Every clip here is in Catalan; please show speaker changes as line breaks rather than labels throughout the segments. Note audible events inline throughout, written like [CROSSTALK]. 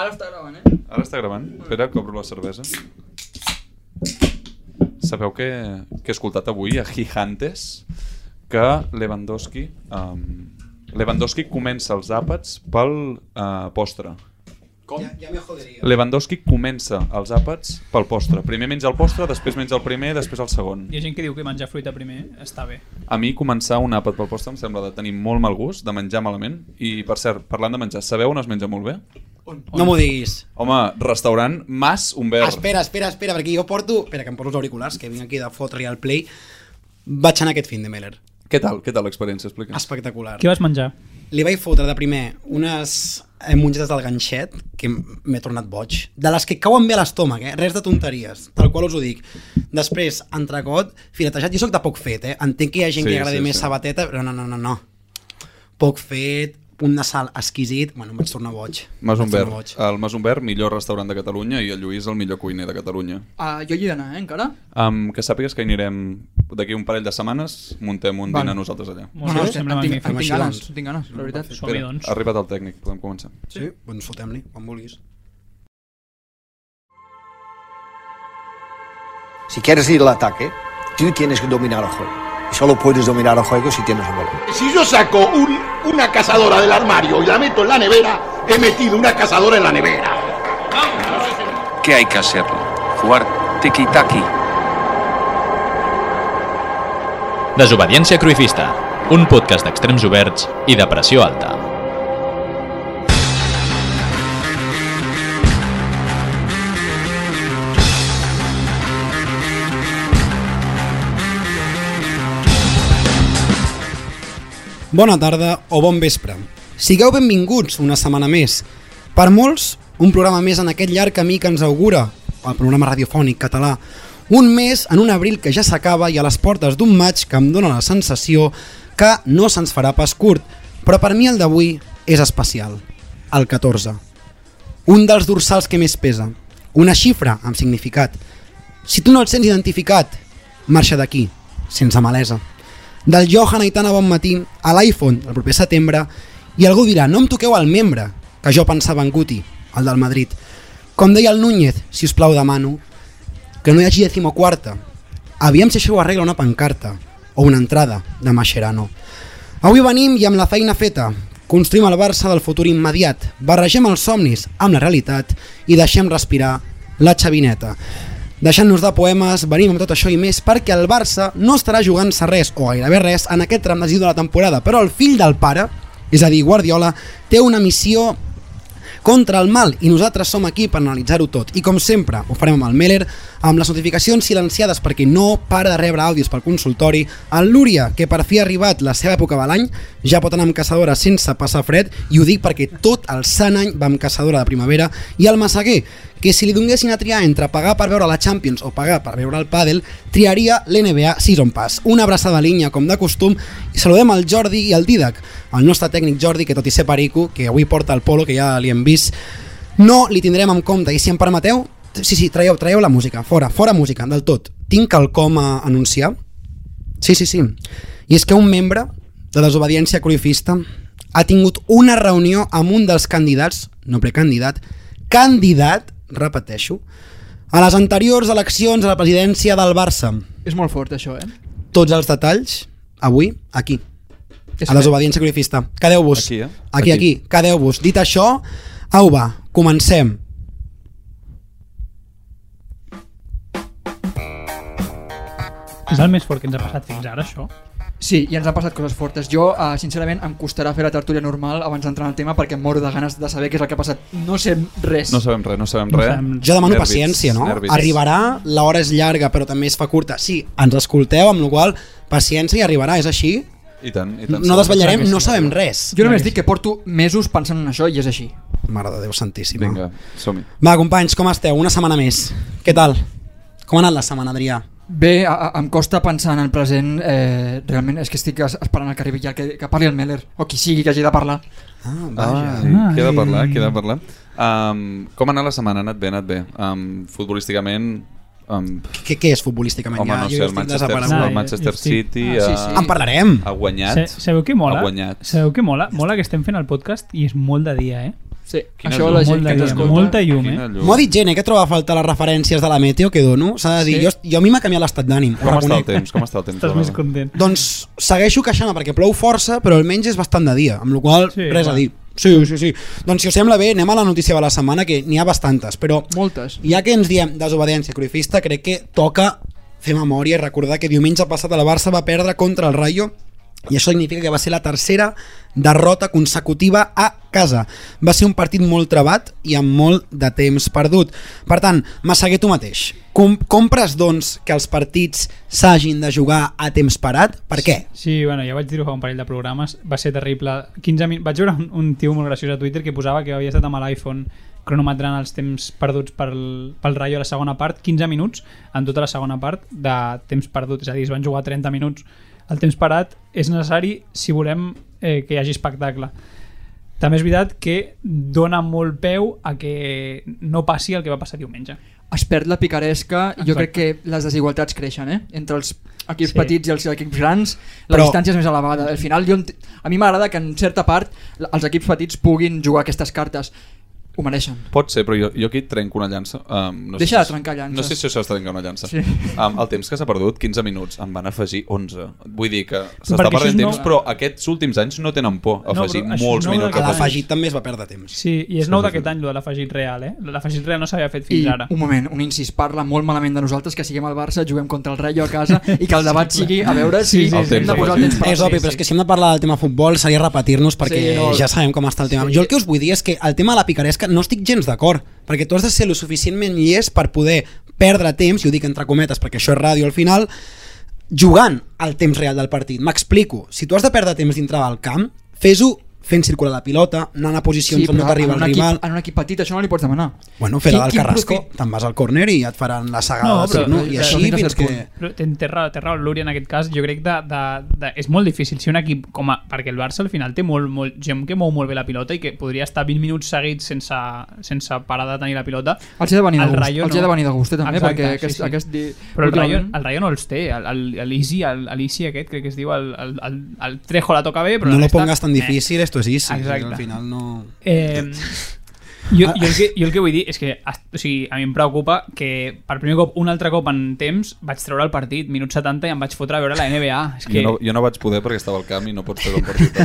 Ara està gravant, eh?
Ara està gravant. Espera, que obro la cervesa. Sabeu que, que he escoltat avui a Gigantes que Lewandowski, um, Lewandowski comença els àpats pel uh, postre.
Com?
Ya, ya me jodería.
Lewandowski comença els àpats pel postre. Primer menja el postre, després menja el primer, després el segon.
Hi ha gent que diu que menjar fruita primer està bé.
A mi començar un àpat pel postre em sembla de tenir molt mal gust, de menjar malament. I, per cert, parlant de menjar, sabeu on es menja molt bé?
No m'ho diguis.
Home, restaurant Mas Humbert.
Espera, espera, espera, perquè jo porto... Espera, que em poso els auriculars, que vinc aquí de fotre al play. Vaig anar aquest fin de Meller.
Què tal? Què tal l'experiència? Explica.
Espectacular.
Què vas menjar?
Li vaig fotre de primer unes eh, mongetes del ganxet, que m- m'he tornat boig, de les que cauen bé a l'estómac, eh? res de tonteries, tal qual us ho dic. Després, entrecot, filetejat, jo sóc de poc fet, eh? entenc que hi ha gent
Sí,
sí, que li agradi
sí,
sí, més
sí.
sí. sabateta, però no, no, no, no. Poc fet, un de sal exquisit, bueno, em vaig tornar boig.
Mas
Em vaig tornar
Humbert, el Mas Humbert, millor restaurant de Catalunya i el Lluís el millor cuiner de Catalunya.
Ah, jo hi he d'anar, eh, encara?
Um, que sàpigues que hi anirem d'aquí un parell de setmanes, muntem un
Val.
dinar nosaltres allà.
Molt bé,
em
sembla
tinc- em
magnífic.
tinc
Així
ganes,
doncs.
em tinc ganes, la veritat.
Som-hi, doncs.
ha arribat el tècnic, podem començar.
Sí, doncs fotem-li, quan vulguis.
Si quieres ir al ataque, tú tienes que dominar el juego. Y solo puedes dominar el juego si tienes un balón.
Si yo saco un- una cazadora del armario y la meto en la nevera, he metido una cazadora en la nevera.
¿Qué hay que hacerlo? Jugar tiki-taki.
Desobediència Cruifista, un podcast d'extrems oberts i de pressió alta.
Bona tarda o bon vespre. Sigueu benvinguts una setmana més. Per molts, un programa més en aquest llarg camí que ens augura, el programa radiofònic català. Un mes en un abril que ja s'acaba i a les portes d'un maig que em dóna la sensació que no se'ns farà pas curt, però per mi el d'avui és especial, el 14. Un dels dorsals que més pesa, una xifra amb significat. Si tu no el sents identificat, marxa d'aquí, sense malesa del Johan Aitana bon matí a l'iPhone el proper setembre i algú dirà, no em toqueu el membre, que jo pensava en Guti, el del Madrid. Com deia el Núñez, si us plau demano, que no hi hagi decimoquarta. Aviam si això ho arregla una pancarta o una entrada de Mascherano. Avui venim i amb la feina feta. Construïm el Barça del futur immediat, barregem els somnis amb la realitat i deixem respirar la xavineta. Deixant-nos de poemes, venim amb tot això i més perquè el Barça no estarà jugant-se res o gairebé res en aquest tram decidu de la temporada, però el fill del pare, és a dir, Guardiola, té una missió contra el mal i nosaltres som aquí per analitzar-ho tot i com sempre ho farem amb el Meller amb les notificacions silenciades perquè no para de rebre àudios pel consultori el Lúria que per fi ha arribat la seva època de l'any ja pot anar amb caçadora sense passar fred i ho dic perquè tot el sant any va amb caçadora de primavera i el Massaguer que si li donguessin a triar entre pagar per veure la Champions o pagar per veure el pàdel triaria l'NBA Season Pass una abraçada a línia com de costum i saludem al Jordi i al Didac el nostre tècnic Jordi que tot i ser perico que avui porta el polo que ja li hem vist no li tindrem en compte i si em permeteu sí, sí, traieu, traieu la música, fora, fora música, del tot tinc quelcom a anunciar Sí, sí, sí. I és que un membre de desobediència cruifista ha tingut una reunió amb un dels candidats, no precandidat, candidat, repeteixo, a les anteriors eleccions a la presidència del Barça.
És molt fort, això, eh?
Tots els detalls, avui, aquí,
És
a desobediència cruifista. Quedeu-vos.
Aquí, eh?
Aquí, aquí.
Aquí.
Quedeu-vos. Dit això, au va, comencem.
És el més fort que ens ha
Ah,
passat fins ara, això.
Sí, i ens han passat coses fortes. Jo, uh, sincerament, em costarà fer la tertúlia normal abans d'entrar en el tema perquè em moro de ganes de saber què és el que ha passat. No sé res.
No sabem res, no sabem res.
sabem
Jo demano
Nervis,
paciència, no?
nervis.
Arribarà, l'hora és llarga, però també es fa curta. Sí, ens escolteu, amb la qual cosa, paciència i arribarà, és així?
I tant, i tant.
No desvetllarem,
que sí.
no sabem res.
Jo només dic que porto mesos pensant en això i és així.
Mare de Déu santíssima.
Vinga, som-hi.
Va, companys, com esteu? Una setmana més. Què tal? Com ha anat la setmana, Adrià?
Bé, a, a, em costa pensar en el present, eh, realment és que estic es- esperant el que arribi ja, que, que parli el Meller, o qui sigui que hagi de parlar.
Ah,
Ai, queda a parlar, queda a parlar. Um, com ha anat la setmana? Ha anat bé, ha anat bé. Um, futbolísticament, um,
Què, què és futbolísticament?
home,
ja,
no
jo
sé,
ja
el
estic
Manchester,
desaparegut.
Ah,
el Manchester
jo estic-
City
Ah, sí,
ha-
sí.
En parlarem.
ha guanyat.
Se, sabeu què mola?
Ha guanyat.
Sabeu què mola? Mola que estem fent el podcast i és molt de dia, eh?
Sí,
Quina
això
llum,
la gent
molt
que
de
ens
llum,
escolta...
molta llum, eh?
Quina llum.
M'ho ha dit gent, eh, que troba a faltar les referències de la meteo que dono. S'ha de dir,
Sí.
jo, jo a mi m'ha canviat l'estat d'ànim. ho
Com està el
reconec.
temps? Com està el temps?
Estàs més
Elena?
content.
Doncs segueixo queixant perquè plou força, però almenys és bastant de dia, amb la qual cosa
Sí,
res
va.
a dir. Sí, sí, sí. Doncs si us sembla bé, anem a la notícia de la setmana, que n'hi ha bastantes, però
Moltes.
ja que ens diem desobediència cruifista, crec que toca fer memòria i recordar que diumenge passat el Barça va perdre contra el Rayo i això significa que va ser la tercera derrota consecutiva a casa. Va ser un partit molt trebat i amb molt de temps perdut. Per tant, Massaguer tu mateix, com compres doncs que els partits s'hagin de jugar a temps parat? Per què?
Sí, bueno, ja vaig dir-ho fa un parell de programes, va ser terrible. 15 min... Vaig veure un, un tio molt graciós a Twitter que posava que havia estat amb l'iPhone cronometrant els temps perduts pel, pel Rayo a la segona part, 15 minuts en tota la segona part de temps perdut, és a dir, es van jugar 30 minuts. El temps parat és necessari si volem eh, que hi hagi espectacle. També és veritat que dona molt peu a que no passi el que va passar diumenge.
es perd la picaresca i jo
Exacte.
crec que les desigualtats creixen eh? entre els equips
Sí.
sí. petits i els equips grans la
Però-
Però... distància és més elevada al final jo, ent- a mi m'agrada que en certa part la- els equips petits puguin jugar aquestes cartes ho mereixen
Pot ser, però jo, jo aquí trenco una llança. Um, no sé
Deixa de
si-
trencar llances.
No sé si això és trencar una llança.
Sí.
Sí. Um, el temps que s'ha perdut, 15 minuts, en van afegir 11. Vull dir que s'està
perquè això
perdent
és
temps,
nou.
però aquests últims anys no tenen por a
No,
afegir
però això és
molts
nou
minuts.
d'aquest
a
any.
afegir.
L'afegit també es va perdre temps.
Sí, i és nou d'aquest any, lo de l'afegit real, eh? L'afegit real no s'havia fet fins
i
ara.
un moment, un incís, parla molt malament de nosaltres que siguem al Barça, juguem contra el Rayo a casa i que el debat sigui a veure si
Sí, sí,
sí,
sí,
hem de
sí.
posar el temps per
És obvi,
sí,
però és
sí.
que si hem de parlar del tema futbol seria repetir-nos perquè
Sí, no.
ja sabem com està el tema.
Sí.
Jo el que us vull dir és que el tema de la picaresca no estic gens d'acord, perquè tu has de ser lo suficientment llest per poder perdre temps, i ho dic entre cometes perquè això és ràdio al final, jugant al temps real del partit. M'explico, si tu has de perdre temps dintre del camp, fes-ho fent circular la pilota, anant a posicions on no
però
t'arriba
en
el
un
rival...
Equip, en un equip petit això no li pots demanar
Bueno, fer la del
Quin- quin
Carrasco,
profit-
te'n vas al córner i et faran la
Ah,
sagada
No,
no,
però-
però, no? i
però-
així
però-
fins que...
Però té- té raó, té raó el Luri en aquest cas, jo crec de, de, de, és molt difícil si un equip com a, perquè el Barça al final té molt, molt gent que mou molt bé la pilota i que podria estar 20 minuts seguits sense, sense parar de tenir la pilota
els he de venir de
El
gust,
Rayo
els he
no.
de venir de gust eh, també,
Exacte,
perquè
sí,
aquest,
sí.
aquest di...
però el Rayo,
últimament-
el Rayo no els té el- el- el Easy, el, el Easy aquest crec que es diu el, el, el, el Trejo la toca bé però
No
la
lo
resta,
pongas tan
eh.
difícil, esto es easy.
Exacte.
Al final no...
Eh, jo, jo, el que, jo el que vull dir és que as- o sigui, a mi em preocupa que per primer cop, un altre cop en temps vaig treure el partit, minut 70 i em vaig fotre a veure la NBA és que...
Jo no, jo no vaig poder perquè estava al camp i no pots fer un partit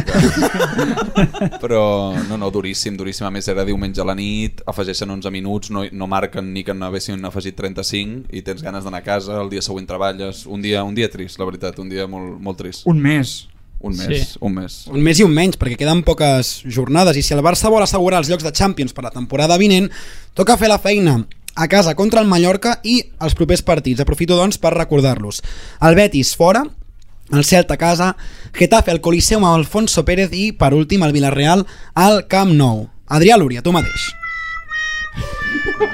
al camp. Però, no, no, duríssim, duríssim. A més, era diumenge a la nit, afegeixen 11 minuts, no, no marquen ni que n'havessin afegit 35 i tens ganes d'anar a casa, el dia següent treballes. Un dia, un dia trist, la veritat, un dia molt, molt trist.
un mes
Un mes,
Sí.
sí. un mes.
Un més i un menys, perquè queden poques jornades i si el Barça vol assegurar els llocs de Champions per la temporada vinent, toca fer la feina a casa contra el Mallorca i els propers partits. Aprofito, doncs, per recordar-los. El Betis fora, el Celta a casa, Getafe al Coliseum amb Alfonso Pérez i, per últim, el Villarreal al Camp Nou. Adrià Lúria, tu mateix.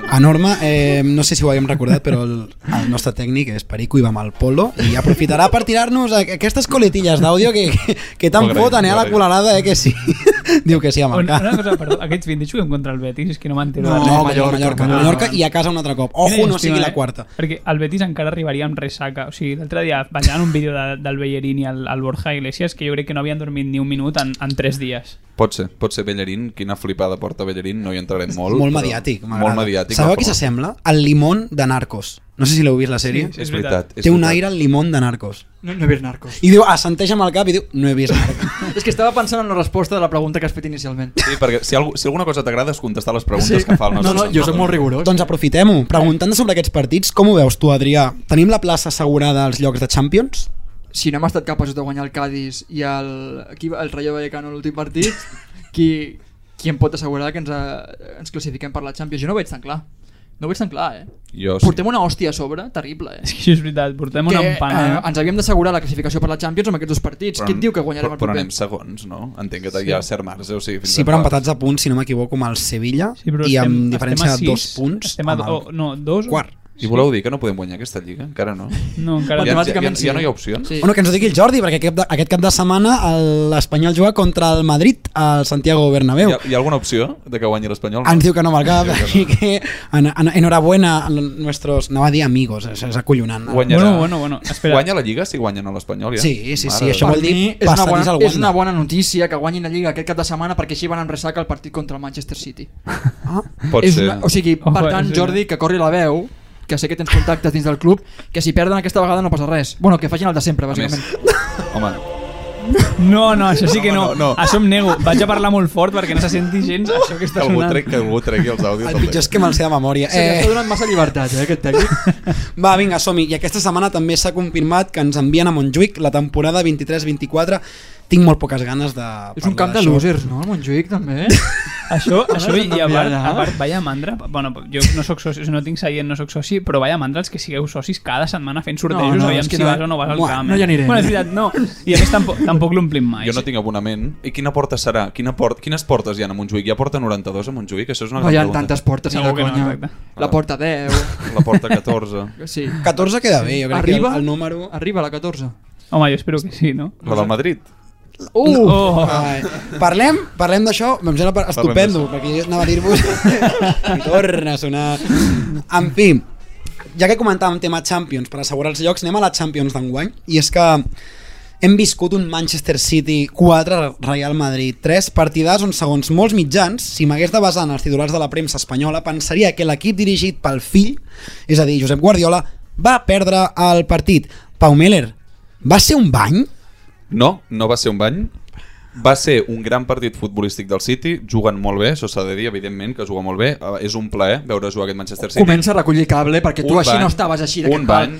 A Norma, eh, no sé si ho haguem recordat, però el, el nostre tècnic és Perico i va amb el polo i aprofitarà per tirar-nos a- aquestes coletilles d'àudio que, que, que
Ho
tan
agraïm,
foten, eh, a
ho
la
agraïm.
colarada, eh, que sí. [LAUGHS] Diu que sí, a
Una,
marcar.
una cosa, perdó, aquests 20 juguem contra el Betis, és que no m'entero
No,
de res.
no, Mallorca, Mallorca, Mallorca i a casa un altre cop. Ojo,
Quina
no sigui
llàstima,
la quarta.
Eh? Perquè el Betis encara arribaria amb ressaca. O sigui, l'altre dia ballant un vídeo de, del Bellerín i el, el Borja Iglesias que jo crec que no havien dormit ni un minut en, en 3 dies.
Pot ser, pot ser Bellerín, quina flipada porta Bellerín, no hi entrarem molt.
Molt
però-
mediàtic,
Molt mediàtic.
Sabeu a
però-
qui s'assembla? El Limón de Narcos. No sé si l'heu vist la sèrie.
Sí,
És veritat. és
Té un
veritat.
aire al Limón de Narcos.
no, no he vist narcos
I diu, assenteix amb el cap i diu, no he vist Narcos.
és que estava pensant en la resposta de la pregunta que has fet inicialment
Sí, perquè si, algú, si alguna cosa t'agrada és contestar les preguntes que fa el
no,
nostre
no, jo
sóc
sóc molt rigorós
Doncs aprofitem-ho. Preguntant sobre aquests partits, com ho veus tu, Adrià? Tenim la plaça assegurada als llocs de Champions?
si no hem estat capaços de guanyar el Cádiz i el, aquí, el Rayo Vallecano en l'últim partit, qui, qui em pot assegurar que ens, eh, ens classifiquem per la Champions? Jo no ho veig tan clar. No ho veig tan clar, eh?
Jo sí.
Portem una hòstia a sobre, terrible, eh?
És que això és veritat, portem una empanada.
eh, ens havíem d'assegurar la classificació per la Champions amb aquests dos partits. Qui et diu que guanyarem
però,
el
però
proper?
anem segons, no? Entenc que sí. hi ha cert marge, o sigui, fins
Sí,
a
però
part.
empatats a punts, si no m'equivoco, amb el Sevilla i amb diferència de dos punts
Estem a,
amb el
do, no, dos,
quart.
I voleu dir que no podem guanyar aquesta lliga? Encara no.
No,
Ja, ja,
encara no.
ja,
Matemàticament sí.
ja no hi ha opcions?
Sí.
Bueno, que ens ho digui el Jordi, perquè aquest, aquest cap de setmana el- l'Espanyol juga contra el Madrid al Santiago Bernabéu.
Hi ha, hi ha alguna opció de que guanyi l'Espanyol?
Ens diu que no amb el cap,
Ens
així
diu que
que en, en, enhorabuena a nuestros, no va dir amigos, és, és acollonant.
Guanyarà.
Bueno, bueno, bueno, espera.
Guanya la Lliga si guanyen a l'Espanyol, ja?
Sí, sí, sí,
Mare
això
Per
de
vol dir
mi és una,
passadís
bona,
al
és
Wanda.
una bona notícia que guanyin la Lliga aquest cap de setmana perquè així van en ressaca el partit contra el Manchester City.
Ah,
Pot
és
ser.
Una, o sigui,
Oh,
per tant,
és
Jordi, que corri la veu, que sé que tens contactes dins del club, que si perden aquesta vegada no passa res. Bueno, que facin el de sempre,
A més,
bàsicament.
home,
No, no, això sí que
No,
no.
no, no.
Això em nego. Vaig a parlar molt fort perquè no se senti gens això que
que
està
algú,
sonant.
trec, que algú tregui els àudios.
El
del
pitjor és que me'l sé de memòria.
Se li està
Eh,
donant massa llibertat, eh, aquest tècnic.
va, vinga, som -hi. I aquesta setmana també s'ha confirmat que ens envien a Montjuïc la temporada 23-24. Tinc molt poques ganes de parlar
és un camp de
d'això.
losers, no? El Montjuïc, també.
Això, això i a part,
Mirada.
a part, vaya mandra. Bueno, jo no sóc soci, no tinc seient, no sóc soci, però vaya mandra els que sigueu socis cada setmana fent sortejos,
No, no,
aviam
és que
si
no-
vas o no vas al
Buah,
camp.
no
eh?
hi anirem.
Bueno, és veritat, no. I a més tampoc, tampoc l'omplim mai.
Jo no tinc abonament. I quina porta serà? Quina port... Quines portes hi ha a Montjuïc? Hi ha porta 92 a Montjuïc? Això és una
No hi ha
gran pregunta.
tantes portes,
Segur
no,
que no,
conya.
exacte.
la porta 10.
La porta 14.
Sí.
14 queda bé, jo crec
Arriba,
que el, el número...
Arriba a la 14.
Home, jo espero que sí, no?
La del Madrid.
Uh!
Oh,
Ai. Parlem, parlem d'això, em sembla per- estupendo, perquè jo anava a dir-vos i torna a sonar. En fi, ja que comentàvem tema Champions, per assegurar els llocs, anem a la Champions d'enguany, i és que hem viscut un Manchester City 4, Real Madrid 3, partidars on segons molts mitjans, si m'hagués de basar en els titulars de la premsa espanyola, pensaria que l'equip dirigit pel fill, és a dir, Josep Guardiola, va perdre el partit. Pau Meller, va ser un bany?
No, no va ser un bany. Va ser un gran partit futbolístic del City, juguen molt bé, això s'ha de dir, evidentment, que juga molt bé. Eh, És un plaer veure jugar aquest Manchester City.
Comença a recollir cable perquè tu
Un
així
ban,
no estaves així. d'aquest
Un bany.
pal.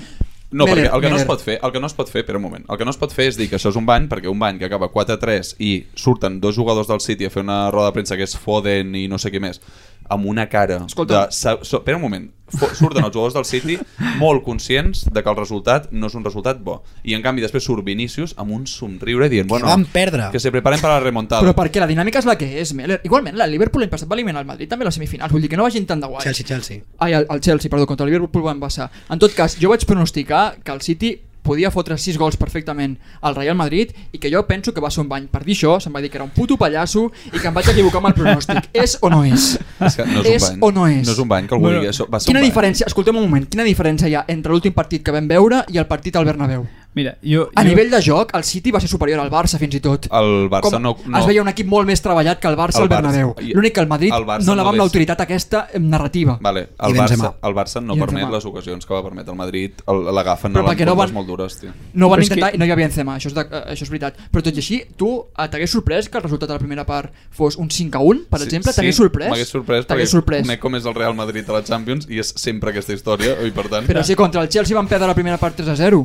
No,
Meller,
perquè el que no es
Meller.
pot fer, el que no es pot fer, per un moment, el que no es pot fer és dir que això és un bany, perquè un bany que acaba 4-3 i surten dos jugadors del City a fer una roda de premsa que és Foden i no sé qui més, amb una cara
Escolta.
de... sa- So, per un moment, fo, surten els jugadors del City molt conscients de que el resultat no és un resultat bo. I en canvi després surt Vinícius amb un somriure dient, bueno,
van perdre."
que se preparen per la remontada.
Però perquè la dinàmica és la que és, Meller. Igualment, la Liverpool l'any passat va eliminar el Madrid també a les semifinals, vull dir que no vagin tan de guai.
Chelsea, Chelsea.
Ai, el, el Chelsea, perdó, contra el Liverpool van passar. En tot cas, jo vaig pronosticar que el City podia fotre 6 gols perfectament al Real Madrid i que jo penso que va ser un bany. Per dir això, se'm va dir que era un puto pallasso i que em vaig equivocar amb el pronòstic.
[LAUGHS]
és o no és?
és que no és,
és
un bany.
o no és?
No és un bany, que algú
Bueno,
bueno, digui això. Va ser
Quina
un bany.
diferència, escoltem un moment, quina diferència hi ha entre l'últim partit que vam veure i el partit al Bernabéu?
mira, jo...
A
jo...
nivell de joc, el City va ser superior al Barça fins i tot.
El Barça
Com
no- no.
Es veia un equip molt més treballat que el Barça
El
al Bernabéu.
Barça- i-
L'únic que el Madrid
el Barça
no la va amb
no és-
l'autoritat aquesta eh, narrativa.
Vale,
I
el,
Benzema.
Barça, el Barça no
I
permet
Benzema.
les ocasions que va permetre el Madrid, el- l'agafen a
Però perquè no
l'encontres
van-
molt dures, tio.
No van
Però és
intentar
que-
i no hi havia Benzema, això és, de, eh, això és veritat. Però tot i així, tu eh, t'hagués sorprès que el resultat de la primera part fos un 5 a 1, per exemple? T'hagués sorprès?
M'hagués sorprès, perquè
T'hagués sorprès.
conec com és el Real Madrid a la Champions i és sempre aquesta història, i per tant...
Però si contra el Chelsea van perdre la primera part 3 a 0.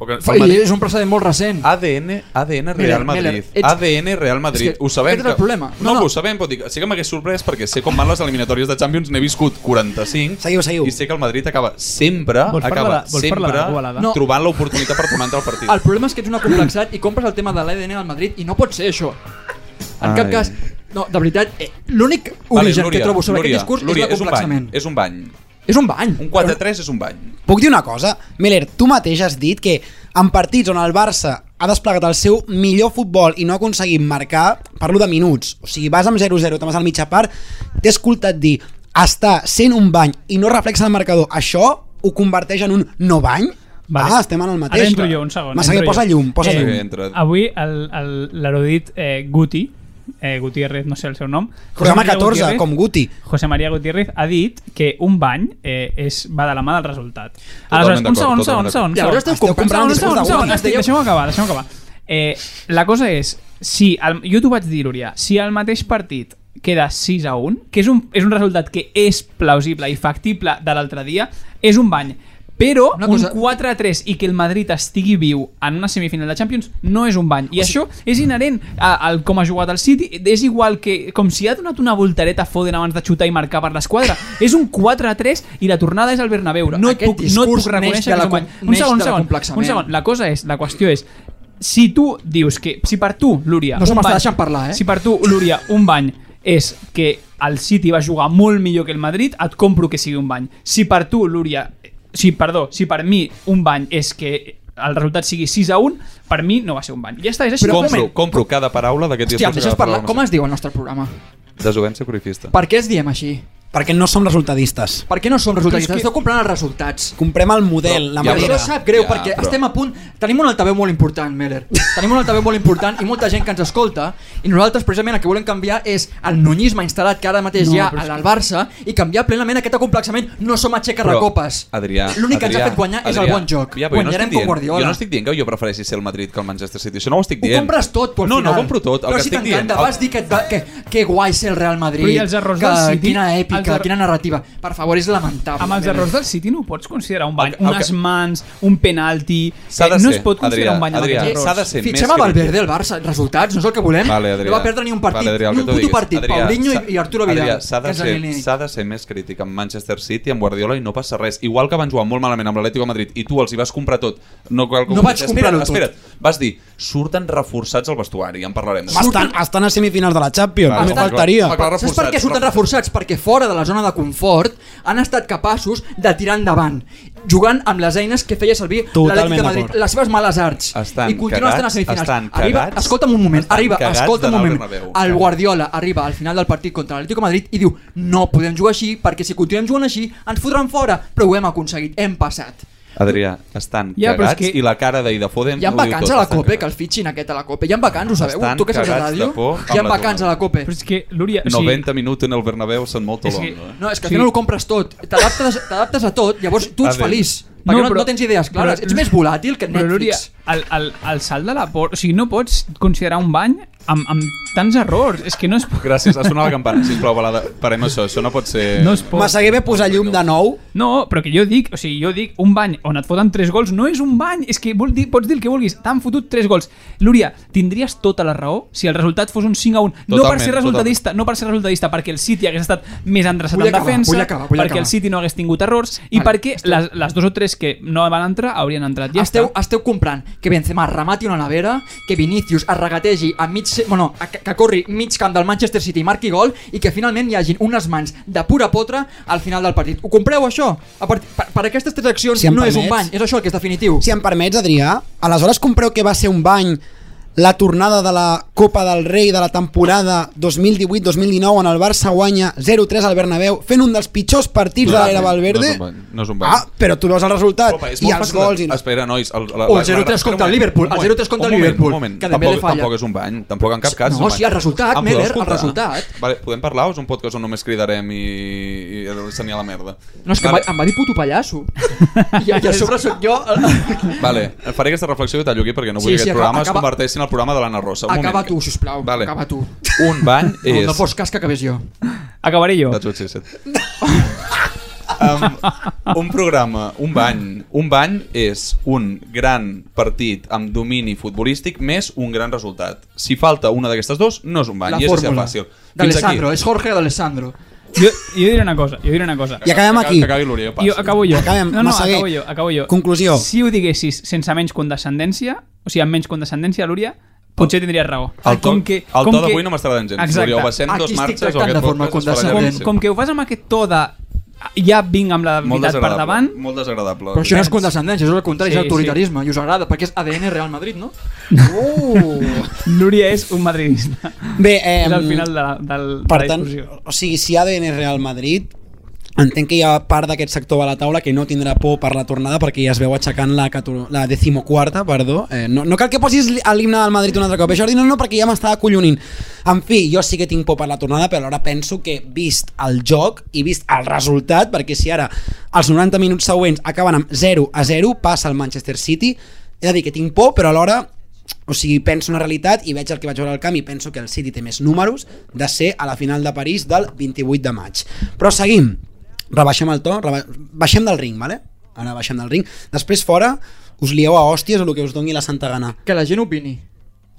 Perquè el
I
Madrid-
és un precedent molt recent.
ADN, ADN Real
Miller,
Madrid.
Miller, ets-
ADN Real Madrid.
És que
Ho sabem.
aquest és el problema.
No,
No,
no,
no.
ho sabem, però dic, sí que m'hagués sorprès perquè sé com van les eliminatòries de Champions, n'he viscut 45
Seguiu, seguiu.
i sé que el Madrid acaba sempre,
Vols parlar
acaba
de- vols parlar de
sempre
Gualada?
No.
trobant l'oportunitat per tornar-te al partit.
El problema és que ets un acomplexat i compres el tema de l'ADN al Madrid i no pot ser això. En cap
Ai.
cas, no, de veritat, eh, l'únic origen
Núria,
que trobo sobre
Núria,
aquest discurs
Núria,
és l'acomplexament.
És un bany, és un bany.
És un bany.
Un 4-3 és un bany.
Puc dir una cosa? Miller, tu mateix has dit que en partits on el Barça ha desplegat el seu millor futbol i no ha aconseguit marcar, parlo de minuts, o sigui, vas amb 0-0, te'n vas al mitja part, t'he escoltat dir, està sent un bany i no reflexa el marcador, això ho converteix en un no bany?
Vale.
Ah, estem en el mateix.
Ara entro jo, un segon.
Massa
entro
que posa
jo.
llum, posa
Eh,
llum.
Entra.
Avui el- el- l'erudit eh, Guti, eh, Gutiérrez, no sé el seu nom.
Programa
José María
14,
Gutiérrez-
com Guti.
José María Gutiérrez ha dit que un bany eh, és, va de la mà del resultat.
Totalment
Aleshores, un segon, un
d'acord,
segon, un
totalment
segon. un
Llavors
segon.
esteu comprant
un
el discurs
segon, un
de
segon,
Guti.
estic- deixeu-me acabar, deixeu acabar. Eh, la cosa és, si el, jo t'ho vaig dir, Lúria, si el mateix partit queda 6 a 1, que és un, és un resultat que és plausible i factible de l'altre dia, és un bany. Però
Una
cosa...
cosa-
un 4 a 3 i que el Madrid estigui viu en una semifinal de Champions no és un bany. I això és inherent a, al com ha jugat el City. És igual que com si ha donat una voltereta a Foden abans de xutar i marcar per l'esquadra. és un 4 a 3 i la tornada és al Bernabéu.
Però
No et
aquest
puc, no et
discurs
puc
neix de
reconèixer que és
la
un bany.
com-
Un
neix
segon,
de
un
la
segon,
complexament.
un segon. La cosa és, la qüestió és, si tu dius que, si per tu, Lúria...
No se
un
m'està
bany-
deixant parlar, eh?
Si per tu, Lúria, un bany és que el City va jugar molt millor que el Madrid, et compro que sigui un bany. Si per tu, Lúria, si, perdó, si per mi un bany és que el resultat sigui 6 a 1, per mi no va ser un bany. Ja està, és així.
Però un
Compro,
moment.
compro cada paraula d'aquest
Hòstia, em deixes parlar? Com
Com
es diu el nostre programa?
Desobència corifista.
Per què es diem així?
Perquè no som resultadistes.
Per què no som resultats? Que... Esteu comprant els resultats.
Comprem el model, la
Ja,
Però
manera.
això sap greu
Ja,
perquè
però-
estem a punt... Tenim un altaveu molt important, Meller. Tenim un altaveu molt important i molta gent que ens escolta i nosaltres precisament el que volem canviar és el nunyisme instal·lat que ara mateix no,
No,
hi ha
però és
al al Barça i canviar plenament aquest acomplexament. No som aixecarrecopes.
Adrià,
L'únic que ens
Adrià,
ha fet guanyar és el
Adrià,
bon joc.
Ja, però jo no
Guanyarem
estic dient,
com Guardiola.
Jo no estic dient que jo prefereixi ser el Madrid que el Manchester City. Això no ho estic
Ho
dient.
compres tot, tu, al
no,
final.
No, no compro tot. El
Però
que
si
estic dient...
t'encanta, vas dir que, et va- que, que guai ser el Real Madrid.
Però i els errors
que,
del City?
Quina èpica,
Els erro-
quina narrativa. Per favor, és lamentable.
Amb els
Miller.
errors del City no ho pots considerar un bany.
El que- el
Unes
que-
mans, un penalti...
S'ha de
eh, no
ser,
es pot considerar
Adrià,
un bany amb
Adrià, s'ha
aquests
de
errors.
ser
Fitxem
més
a Valverde
crític.
el Barça, els resultats, no és el que volem.
Vale, Adrià.
no va perdre ni un partit,
Vale, Adrià, el
ni un
que tu
puto
diguis.
partit.
Adrià,
Paulinho
s'ha-
i, i Arturo Vidal.
Adrià, s'ha de,
que ens
ser,
alineïn.
s'ha de ser més crític amb Manchester City, amb Guardiola i no passa res. Igual que van jugar molt malament amb l'Atlético de Madrid i tu els hi vas comprar tot. No, cal que ho
No vaig
compres.
comprar-ho
espera't, Espera't, vas dir, surten reforçats al vestuari, en parlarem.
Home, Estan, estan a semifinals de la Champions,
Clar,
només
clar, clar.
faltaria.
Clar, clar.
Saps per què surten reforçats? Perquè fora de la zona de confort han estat capaços de tirar endavant, jugant amb les eines que feia servir l'Atlètic
Totalment
de Madrid,
d'acord.
les seves males arts.
Estan
I continuen estant a
cagats,
semifinals.
estan
arriba,
cagats,
escolta'm un moment,
estan
arriba,
cagats
escolta'm un
d'anar al
moment.
Bernabéu.
El Guardiola arriba al final del partit contra l'Atlético de Madrid i diu no podem jugar així perquè si continuem jugant així ens fotran fora, però ho hem aconseguit, hem passat.
Adrià, estan
Ja,
ja,
però és
cagats que...
que-
i la cara d'Ida Foden
Hi ha
ho diu
vacants
tot,
a la
estan
COPE, que el
cagats.
fitxin aquest a la COPE. Hi ha vacants, ho sabeu?
Estan
Tu que saps de
cagats de
ràdio?
por
Hi ha
amb la
vacants a la COPE.
Però és que, Lúria... o sigui,
90 minuts en el Bernabéu se'n molt
És
long.
que-
eh?
No, és que al
Sí.
final ho compres tot. T'adaptes t'adaptes a tot, llavors tu ets
A veure.
feliç. Perquè no, no tens idees clares. Ets més volàtil que
Però, Núria,
Netflix.
el, el, el salt de la por... O sigui, no pots considerar un bany amb, amb tants errors. És que no es pot...
Gràcies, ha sonat la campana, sisplau, balada. Parem això, això no pot ser...
No es pot.
M'assegué bé posar llum de nou.
No, però que jo dic, o sigui, jo dic, un bany on et foten 3 gols no és un bany, és que vol dir, pots dir el que vulguis, t'han fotut 3 gols. Lúria, tindries tota la raó si el resultat fos un 5 a 1. no per
Totalment,
ser resultadista, no per ser resultadista, perquè el City hagués estat més endreçat
Vull
en
acabar,
defensa,
vull acabar, vull
perquè
acabar.
el City no hagués tingut errors i
Vale,
perquè les, les dos o tres que no van entrar haurien entrat. Ja
esteu,
està.
esteu comprant que Benzema remati una nevera, que Vinicius es regategi a mig, bueno, a, que, que corri mig camp del Manchester City i marqui gol i que finalment hi hagin unes mans de pura potra al final del partit. Ho compreu això? A part, per, per aquestes tres accions
Si em
no és un
permets-
bany, és això el que és definitiu.
Si em permets, Adrià, aleshores compreu que va ser un bany la tornada de la Copa del Rei de la temporada 2018-2019 en el Barça guanya 0-3 al Bernabéu fent un dels pitjors partits de l'era Valverde
No és un bany, no és un bany.
ah, però tu veus el resultat
Opa, és
i
molt
els
fàcil de-
gols i no.
Espera, nois... El, la,
O
la-
el 0-3
la-
contra el
un
Liverpool,
moment,
el 0-3 contra
un
el
moment,
Liverpool,
Un moment,
que Dembélé
tampoc,
falla.
tampoc és un bany, tampoc en cap cas.
No,
és un bany.
sí, el resultat,
podeu
Meller, el
escoltar?
resultat.
Vale, podem parlar o és un podcast on només cridarem i, i, i se n'hi ha la merda?
No, és que em va,
vale,
em va dir puto
[LAUGHS]
pallasso. I, i a sobre soc jo...
Vale, faré aquesta reflexió i tallo aquí perquè no
Sí,
vull
sí,
que aquest
acaba-
programa es
acaba-
converteixi en el programa de l'Anna Rosa. Un
Acaba
moment.
tu, sisplau.
Vale.
Acaba tu.
Un bany
No,
és...
no fos cas que acabés jo.
Acabaré jo.
That's what she said. um, un programa, un bany. Un bany és un gran partit amb domini futbolístic més un gran resultat. Si falta una d'aquestes dos, no és un bany.
La
I és així de
fórmula.
fàcil.
D'Alessandro, és Jorge d'Alessandro.
Jo, jo diré una cosa, jo diré una cosa.
i acabem aquí
Que acabi l'Oriol, passa.
Jo acabo jo.
Acabem,
no, no,
Massaguer.
acabo jo, acabo jo.
Conclusió.
Si ho diguessis sense menys condescendència, o sigui, amb menys condescendència, Lúria, potser tindries raó.
El to,
Com que-
el
com
to
que-
d'avui no m'està agradant gens.
Exacte.
Oriol, baixem
Aquí
dos
estic
marxes o
tractant
aquest
de forma
podcast es farà
condescendent.
llarg,
Com que ho fas amb aquest to de ja vinc amb la
sí. Molt
veritat per
desagradable,
davant,
Molt desagradable.
Però això no és condescendència, és el contrari,
Sí,
és autoritarisme. I us agrada, perquè és ADN Real Madrid,
[LAUGHS]
no? Uh!
Núria és un madridista.
bé, eh,
és al final de la, del, de
per
la
tant,
discussió.
o sigui, si ADN és Real Madrid entenc que hi ha part d'aquest sector a la taula que no tindrà por per la tornada perquè ja es veu aixecant la, cator- la decimoquarta perdó. Eh, no, no cal que posis l- a l'himne del Madrid un altre cop, eh, Jordi, no, no, perquè ja m'estava acollonint en fi, jo sí que tinc por per la tornada però ara penso que vist el joc i vist el resultat, perquè si ara els 90 minuts següents acaben amb 0 a 0, passa el Manchester City he de dir que tinc por, però alhora o sigui, penso una realitat i veig el que vaig veure al camp i penso que el City té més números de ser a la final de París del 28 de maig. Però seguim. Rebaixem el to, reba... baixem del ring, vale? Ara baixem del ring. Després fora us lieu a hòsties o el que us doni la santa gana.
Que la gent opini.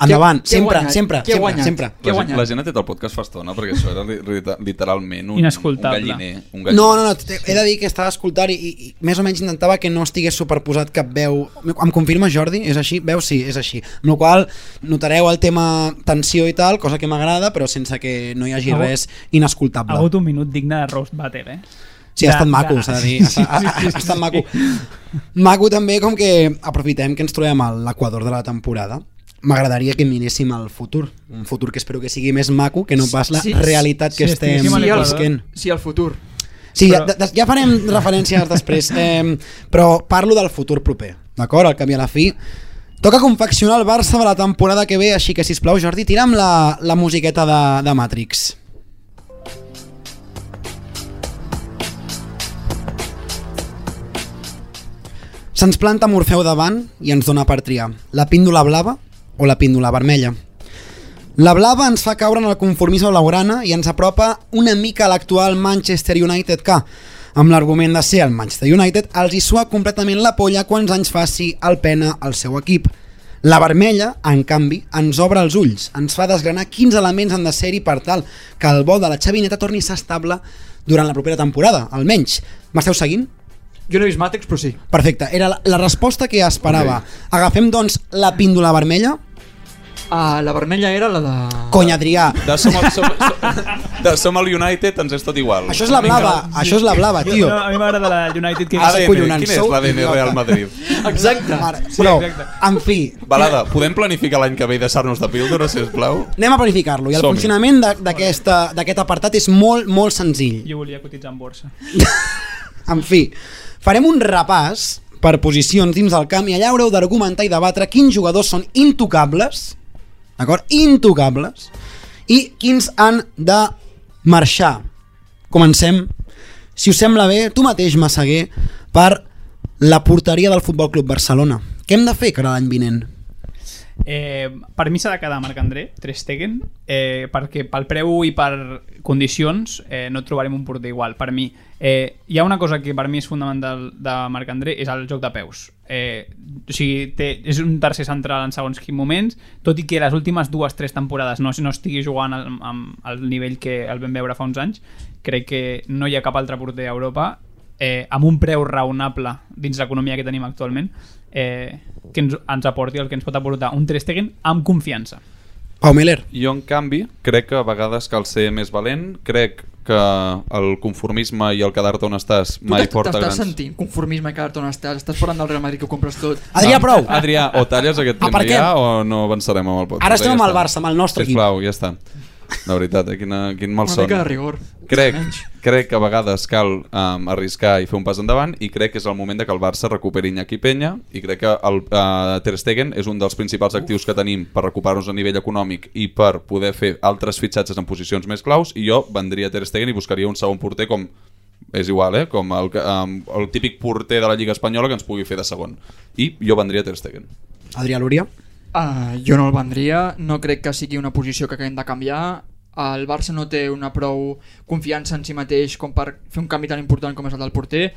Endavant,
Què- què
sempre,
guanyat?
sempre,
Què
sempre,
guanyat?
sempre.
Què ha
La, gent-
guanyat?
la gent ha tret el podcast fa estona, perquè això era li- li- literalment un, un
Inescoltable.
galliner. Un galliner.
No, no, no, t- he de dir que estava escoltant i, i, i més o menys intentava que no estigués superposat cap veu. Em confirma Jordi? És així? Veu? Sí, és així. Amb la qual cosa notareu el tema tensió i tal, cosa que m'agrada, però sense que no hi hagi
Ha hagut-
res
Ha
inescoltable.
hagut un minut digne de roast battle, eh?
Sí, ha estat
de-
maco,
de-
s'ha de dir. Ha, ha, ha, ha estat maco. Maco també com que aprofitem que ens trobem a l'equador de la temporada. M'agradaria que miréssim al futur. Un futur que espero que sigui més maco, que no pas la
Sí, sí,
realitat que
sí,
estem
estiguéssim a l'Equador.
visquent.
Sí, el futur.
Sí,
Però-
ja, ja farem referències després, eh, però parlo del futur proper, d'acord? Al cap i a la fi. Toca confeccionar el Barça de la temporada que ve, així que, si plau Jordi, tira'm la, la musiqueta de, de Matrix. Se'ns planta Morfeu davant i ens dona per triar la píndola blava o la píndola vermella. La blava ens fa caure en el conformisme blaugrana i ens apropa una mica a l'actual Manchester United que, amb l'argument de ser el Manchester United, els hi sua completament la polla quants anys faci el pena al seu equip. La vermella, en canvi, ens obre els ulls, ens fa desgranar quins elements han de ser-hi per tal que el bo de la xavineta torni a ser estable durant la propera temporada, almenys. M'esteu seguint?
Jo no he vist Matrix, però sí.
Perfecte, era la, la resposta que esperava. Agafem, doncs, la píndola vermella.
Ah, la vermella era la de...
Cony, Adrià,
De som, al, som, som, de som al United ens és tot igual.
això és la blava, això és la blava,
Jo-
tio.
No, a mi m'agrada la United que...
Ara-
ADN,
collonant,
quin és
sou
l'ADN
idiota.
Real Madrid?
Exacte.
Mare,
Sí,
però,
exacte.
en fi,
Balada, podem planificar l'any que ve i deixar-nos de píldora, sisplau?
anem a planificar-lo. I el
Som-hi.
funcionament de- d'aquesta- d'aquest apartat és molt, molt senzill.
Jo volia cotitzar en borsa.
En fi, farem un repàs per posicions dins del camp i allà haureu d'argumentar i debatre quins jugadors són intocables, d'acord? Intocables, i quins han de marxar. Comencem, si us sembla bé, tu mateix, Massaguer, per la porteria del Futbol Club Barcelona. Què hem de fer cara a l'any vinent?
Eh, per mi s'ha de quedar Marc André, Ter Stegen, eh, perquè pel preu i per condicions eh, no trobarem un porter igual, per mi. Eh, hi ha una cosa que per mi és fundamental de Marc André, és el joc de peus. Eh, o sigui, té, és un tercer central en segons quins moments, tot i que les últimes dues, tres temporades no, no estigui jugant al, amb, al nivell que el vam veure fa uns anys, crec que no hi ha cap altre porter a Europa eh, amb un preu raonable dins l'economia que tenim actualment eh, que ens, ens aporti el que ens pot aportar un Ter Stegen amb confiança
Pau Miller.
Jo, en canvi, crec que a vegades cal ser més valent. Crec que el conformisme i el quedar-te on estàs
Tu
mai
t'est-
porta
t'estàs
grans...
sentint conformisme cada on estàs, estàs parlant del Real Madrid que ho compres tot.
Adrià,
Ah,
prou!
Adrià, o talles aquest tema
Aparquem.
ja o no avançarem amb el podcast.
Ara estem
Ja
amb el
està.
Barça, amb el nostre equip.
Sisplau, ja està. De veritat, eh? Quina, quin
Una
malson.
mica de rigor.
Crec,
Menys.
crec que a vegades cal um, arriscar i fer un pas endavant i crec que és el moment de que el Barça recuperi Iñaki Penya i crec que el uh, Ter Stegen és un dels principals actius que tenim per recuperar-nos a nivell econòmic i per poder fer altres fitxatges en posicions més claus i jo vendria Ter Stegen i buscaria un segon porter com és igual, eh? Com el, que- um, el típic porter de la Lliga Espanyola que ens pugui fer de segon. I jo vendria Ter Stegen.
Adrià Lúria.
Ah, jo no el vendria, no crec que sigui una posició que haguem de canviar. El Barça no té una prou confiança en si mateix com per fer un canvi tan important com és el del porter.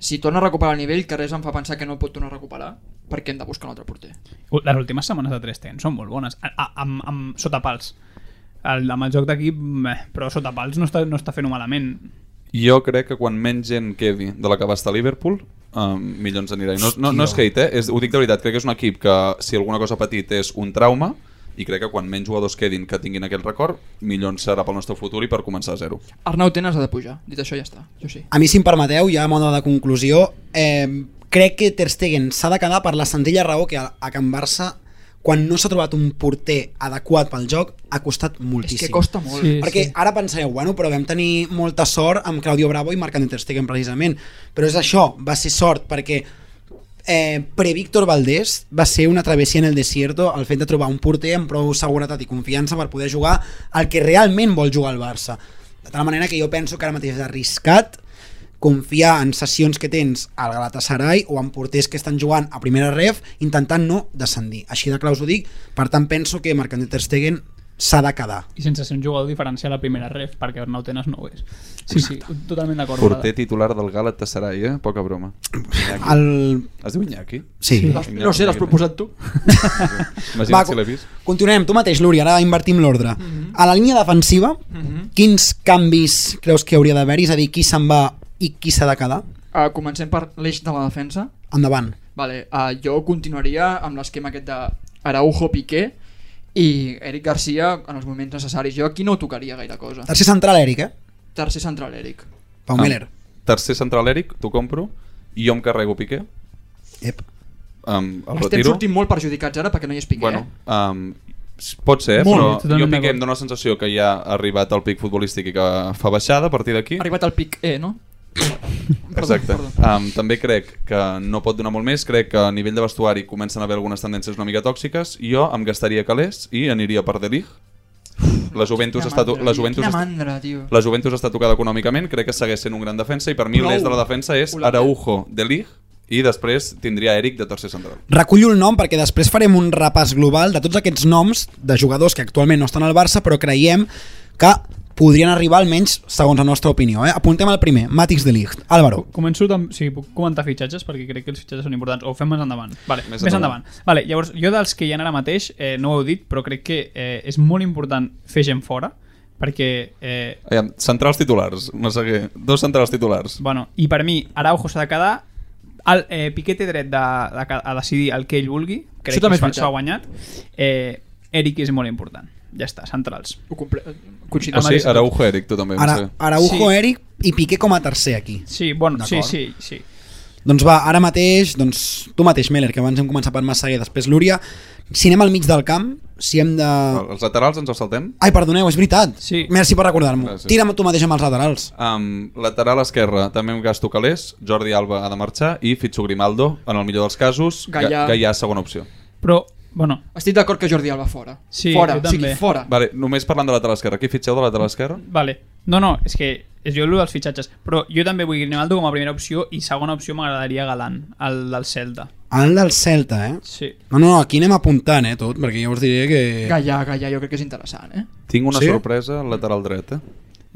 Si torna a recuperar el nivell, que res em fa pensar que no pot tornar a recuperar, perquè hem de buscar un altre porter.
les últimes setmanes de Ter Stegen són molt bones a, a, amb, amb, sota pals el, amb el joc d'equip meh, però sota pals no està, no està fent-ho malament
Jo crec que quan menys gent quedi de la que va estar a Liverpool, um, millor ens anirà. I No, no, no és hate, eh? És, ho dic de veritat, crec que és un equip que, si alguna cosa ha patit, és un trauma, i crec que quan menys jugadors quedin que tinguin aquest record, millor ens serà pel nostre futur i per començar a zero.
Arnau Tenes ha de pujar, dit això ja està, jo sí.
A mi, si em permeteu, ja a moda de conclusió, eh, crec que Ter Stegen s'ha de quedar per la senzilla raó que a, a Can Barça, quan no s'ha trobat un porter adequat pel joc, ha costat
És
moltíssim.
que costa molt.
Sí.
Perquè ara pensareu, bueno, però vam tenir molta sort amb Claudio Bravo i Marc André Ter Stegen precisament, però és això, va ser sort perquè eh, pre-Víctor Valdés va ser una travessia en el desierto el fet de trobar un porter amb prou seguretat i confiança per poder jugar el que realment vol jugar el Barça. De tal manera que jo penso que ara mateix és arriscat confiar en sessions que tens al Galatasaray o en porters que estan jugant a primera ref intentant no descendir. Així de claus ho dic, per tant penso que Marc André Ter Stegen s'ha de quedar.
I sense ser un jugador diferencial a la primera ref, perquè Arnau Tenas no ho és. Sí, sí, totalment d'acord.
Porter titular del Galatasaray, eh? Poca broma. Iñaki.
El...
Es diu Iñaki?
Sí. sí.
No sé, l'has proposat tu.
Imagina't
Va,
si l'he vist.
Continuem, tu mateix, Luri, ara invertim l'ordre. A la línia defensiva,
[LAUGHS]
quins canvis creus que hauria d'haver-hi? És a dir, qui se'n va i qui s'ha de quedar?
Uh, comencem per l'eix de la defensa.
Endavant.
Vale, uh, jo continuaria amb l'esquema aquest de Araujo Piqué i Eric Garcia en els moments necessaris. Jo aquí no tocaria gaire cosa.
Ah.
Tercer central, Eric, eh?
Tercer central, Eric.
Pau
Ah.
Miller.
Tercer central, Eric, t'ho compro. I jo em carrego Piqué.
Ep.
Um, el
Estem
retiro.
sortint molt perjudicats ara perquè no hi és Piqué. eh?
Bueno, um, pot ser, eh?
Molt,
però jo
totalment
Piqué
d'acord.
em dóna la sensació que ja ha arribat al pic futbolístic i que fa baixada a partir d'aquí.
Ha arribat al pic E, no?
[LAUGHS] Exacte.
Perdó, perdó.
Um, també crec que no pot donar molt més, crec que a nivell de vestuari comencen a haver algunes tendències una mica tòxiques, jo em gastaria calés i aniria per De Ligt. La Juventus,
Quina
està, to-
mandra,
la,
tio,
Juventus
Quina
està,
mandra, tio.
la Juventus està tocada econòmicament, crec que segueix sent un gran defensa i per mi
Prou.
l'eix de la defensa és
Hola.
Araujo, De Ligt i després tindria Eric de tercer central.
Recullo el nom perquè després farem un repàs global de tots aquests noms de jugadors que actualment no estan al Barça però creiem que podrien arribar almenys segons la nostra opinió. Eh? Apuntem el primer, Matix de Ligt. Álvaro,
Començo amb... Sí, puc comentar fitxatges perquè crec que els fitxatges són importants. O ho fem més endavant. Vale,
Més
més, més endavant. Vale, llavors, jo dels que hi ha ara mateix, eh, no ho heu dit, però crec que eh, és molt important fer gent fora perquè eh,
Aviam, centrals titulars, Massaguer. Dos centrals titulars.
Bueno, i per mi, Araujo s'ha de quedar el, eh, Piqué té dret de, de, ca- a decidir el que ell vulgui crec
Això també
que
és veritat.
s'ho- s'ho ha guanyat eh, Eric és molt important ja està, centrals
Ho comple...
O
Coincideix.
sigui,
mateix-
Araujo, Eric, tu també.
Ara,
Ara...
Araujo,
Sí.
Eric i Piqué com a tercer aquí.
sí, bueno, sí,
D'acord.
sí, sí
Doncs va, ara mateix, doncs, tu mateix, Meller, que abans hem començat per Massaguer, després Lúria. Si anem al mig del camp, si hem de...
Els laterals ens els saltem?
Ai, perdoneu, és veritat.
Sí.
Merci per recordar-m'ho.
Gràcies.
Tira'm tu mateix amb els laterals.
Um, lateral esquerra, també em gasto calés, Jordi Alba ha de marxar i Fitxo Grimaldo, en el millor dels casos, Ga-
Gaià.
Gaià segona opció.
però, bueno,
Estic d'acord que Jordi Alba fora.
Sí,
fora,
jo
o sigui,
també.
fora.
Vale, només parlant de lateral esquerra, qui fitxeu de lateral esquerra?
vale no, no, és que és jo el dels fitxatges però jo també vull Grimaldo com a primera opció i segona opció m'agradaria Galant el del Celta
El del Celta, eh?
sí,
No, no, aquí anem apuntant, eh, tot, perquè jo us diré que...
Gallà, Gallà, jo crec que és interessant, eh?
Tinc una
Sí?
sí? sorpresa al lateral dret. Eh?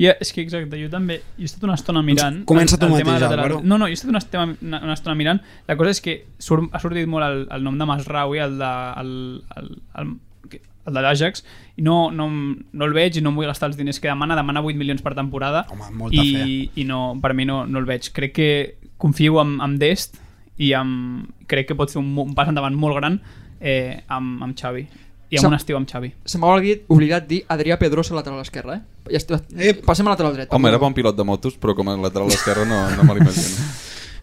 Ja, és que exacte, jo també jo he estat una estona mirant...
Doncs comença tu
tema
mateix,
de lateral-
Álvaro.
No, no, jo he estat una, estema, una, una estona mirant. La cosa és que surt, ha sortit molt el, el nom de Masraui, el de... El, el, el, que- el de l'Ajax, i no, no, em- no el veig i no em vull gastar els diners que demana, demana 8 milions per temporada
Home, molta
i, i no, per mi no, no el veig crec que confio en, en Dest i amb, crec que pot fer un, mo- un pas endavant molt gran eh, amb, amb Xavi i amb
Sap-
un estiu amb Xavi
Se m'ha oblidat, oblidat dir Adrià Pedrosa a lateral esquerra, eh? Ja està.
Ep.
Passem a lateral dret.
Home, era bon pilot de motos, però com a lateral esquerra no, no me
[LAUGHS]
l'imagino.